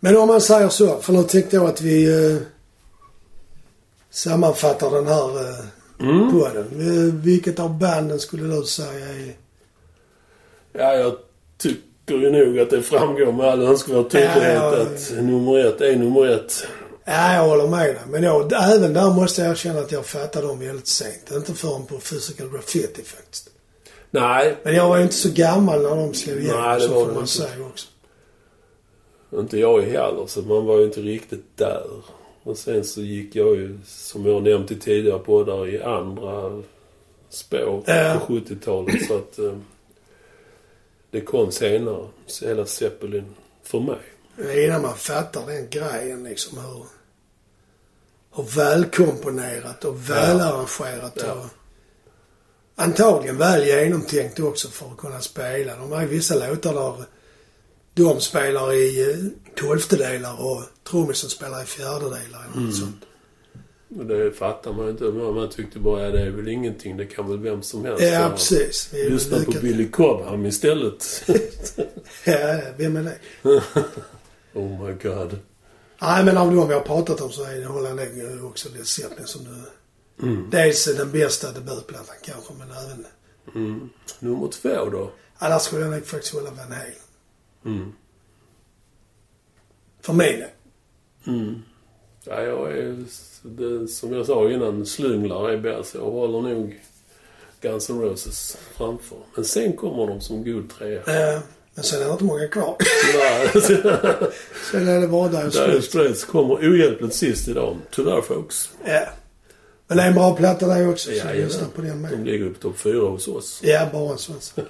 [SPEAKER 1] Men om man säger så, för nu tänkte jag att vi eh, sammanfattar den här eh,
[SPEAKER 2] Mm.
[SPEAKER 1] podden. Eh, vilket av banden skulle du säga är...
[SPEAKER 2] Ja, jag tycker ju nog att det framgår med all önskvärd tydlighet
[SPEAKER 1] Ja, ja.
[SPEAKER 2] att nummer ett är nummer ett.
[SPEAKER 1] Ja, jag håller med dig. Men jag, även där måste jag erkänna att jag fattade dem väldigt sent. Inte förrän på Physical Graffiti faktiskt.
[SPEAKER 2] Nej,
[SPEAKER 1] Men jag var ju inte så gammal när de slog igenom,
[SPEAKER 2] Nej, det
[SPEAKER 1] så
[SPEAKER 2] var
[SPEAKER 1] får
[SPEAKER 2] du
[SPEAKER 1] man
[SPEAKER 2] inte.
[SPEAKER 1] säga också.
[SPEAKER 2] inte jag heller, så man var ju inte riktigt där. Och sen så gick jag ju, som jag har nämnt i tidigare poddar, i andra spår
[SPEAKER 1] Ja.
[SPEAKER 2] på 70-talet. Så att eh, det kom senare, så hela Zeppelin, för mig.
[SPEAKER 1] Innan man fattar den grejen liksom hur, hur välkomponerat och välarrangerat
[SPEAKER 2] Ja.
[SPEAKER 1] och antagligen väl genomtänkt också för att kunna spela. De har ju vissa låtar där de spelar i eh, tolftedelar och trummisen spelar i fjärdedelar eller något
[SPEAKER 2] Mm.
[SPEAKER 1] sånt.
[SPEAKER 2] Och det fattar man ju inte. Man man tyckte bara, ja, det är väl ingenting. Det kan väl vem som helst
[SPEAKER 1] Ja,
[SPEAKER 2] göra.
[SPEAKER 1] precis. Vi är
[SPEAKER 2] Lyssna på
[SPEAKER 1] lyckat-
[SPEAKER 2] Billy Cobham istället.
[SPEAKER 1] Ja, vem är det?
[SPEAKER 2] oh my god.
[SPEAKER 1] Nej, men av de vi har pratat om så är det håller jag nog också det sättning som du...
[SPEAKER 2] Mm.
[SPEAKER 1] Dels är den bästa debutplattan kanske, men även...
[SPEAKER 2] Nummer två då.
[SPEAKER 1] Annars skulle jag nog faktiskt hålla Van Halen.
[SPEAKER 2] Mm.
[SPEAKER 1] För min del.
[SPEAKER 2] Ja, jag är, det, som jag sa innan, slunglar är bäst. Jag håller nog Guns N' Roses framför. Men sen kommer de som god trea.
[SPEAKER 1] Eh, Men sen är det inte många kvar.
[SPEAKER 2] Tyvärr.
[SPEAKER 1] sen är det bara där och
[SPEAKER 2] Dire
[SPEAKER 1] slut.
[SPEAKER 2] Straits kommer ohjälpligt sist idag. Tyvärr folks.
[SPEAKER 1] Ja. Men det är en bra platta där också, så
[SPEAKER 2] Jajamän.
[SPEAKER 1] lyssna på den
[SPEAKER 2] De
[SPEAKER 1] med.
[SPEAKER 2] ligger på topp fyra hos oss.
[SPEAKER 1] Ja, bara en sån sak.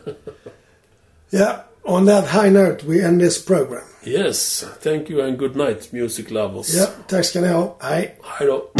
[SPEAKER 1] Ja, on that high note we end this program.
[SPEAKER 2] Yes, thank you and good night music lovers.
[SPEAKER 1] Ja, tack ska ni ha. Hej.
[SPEAKER 2] Hej då.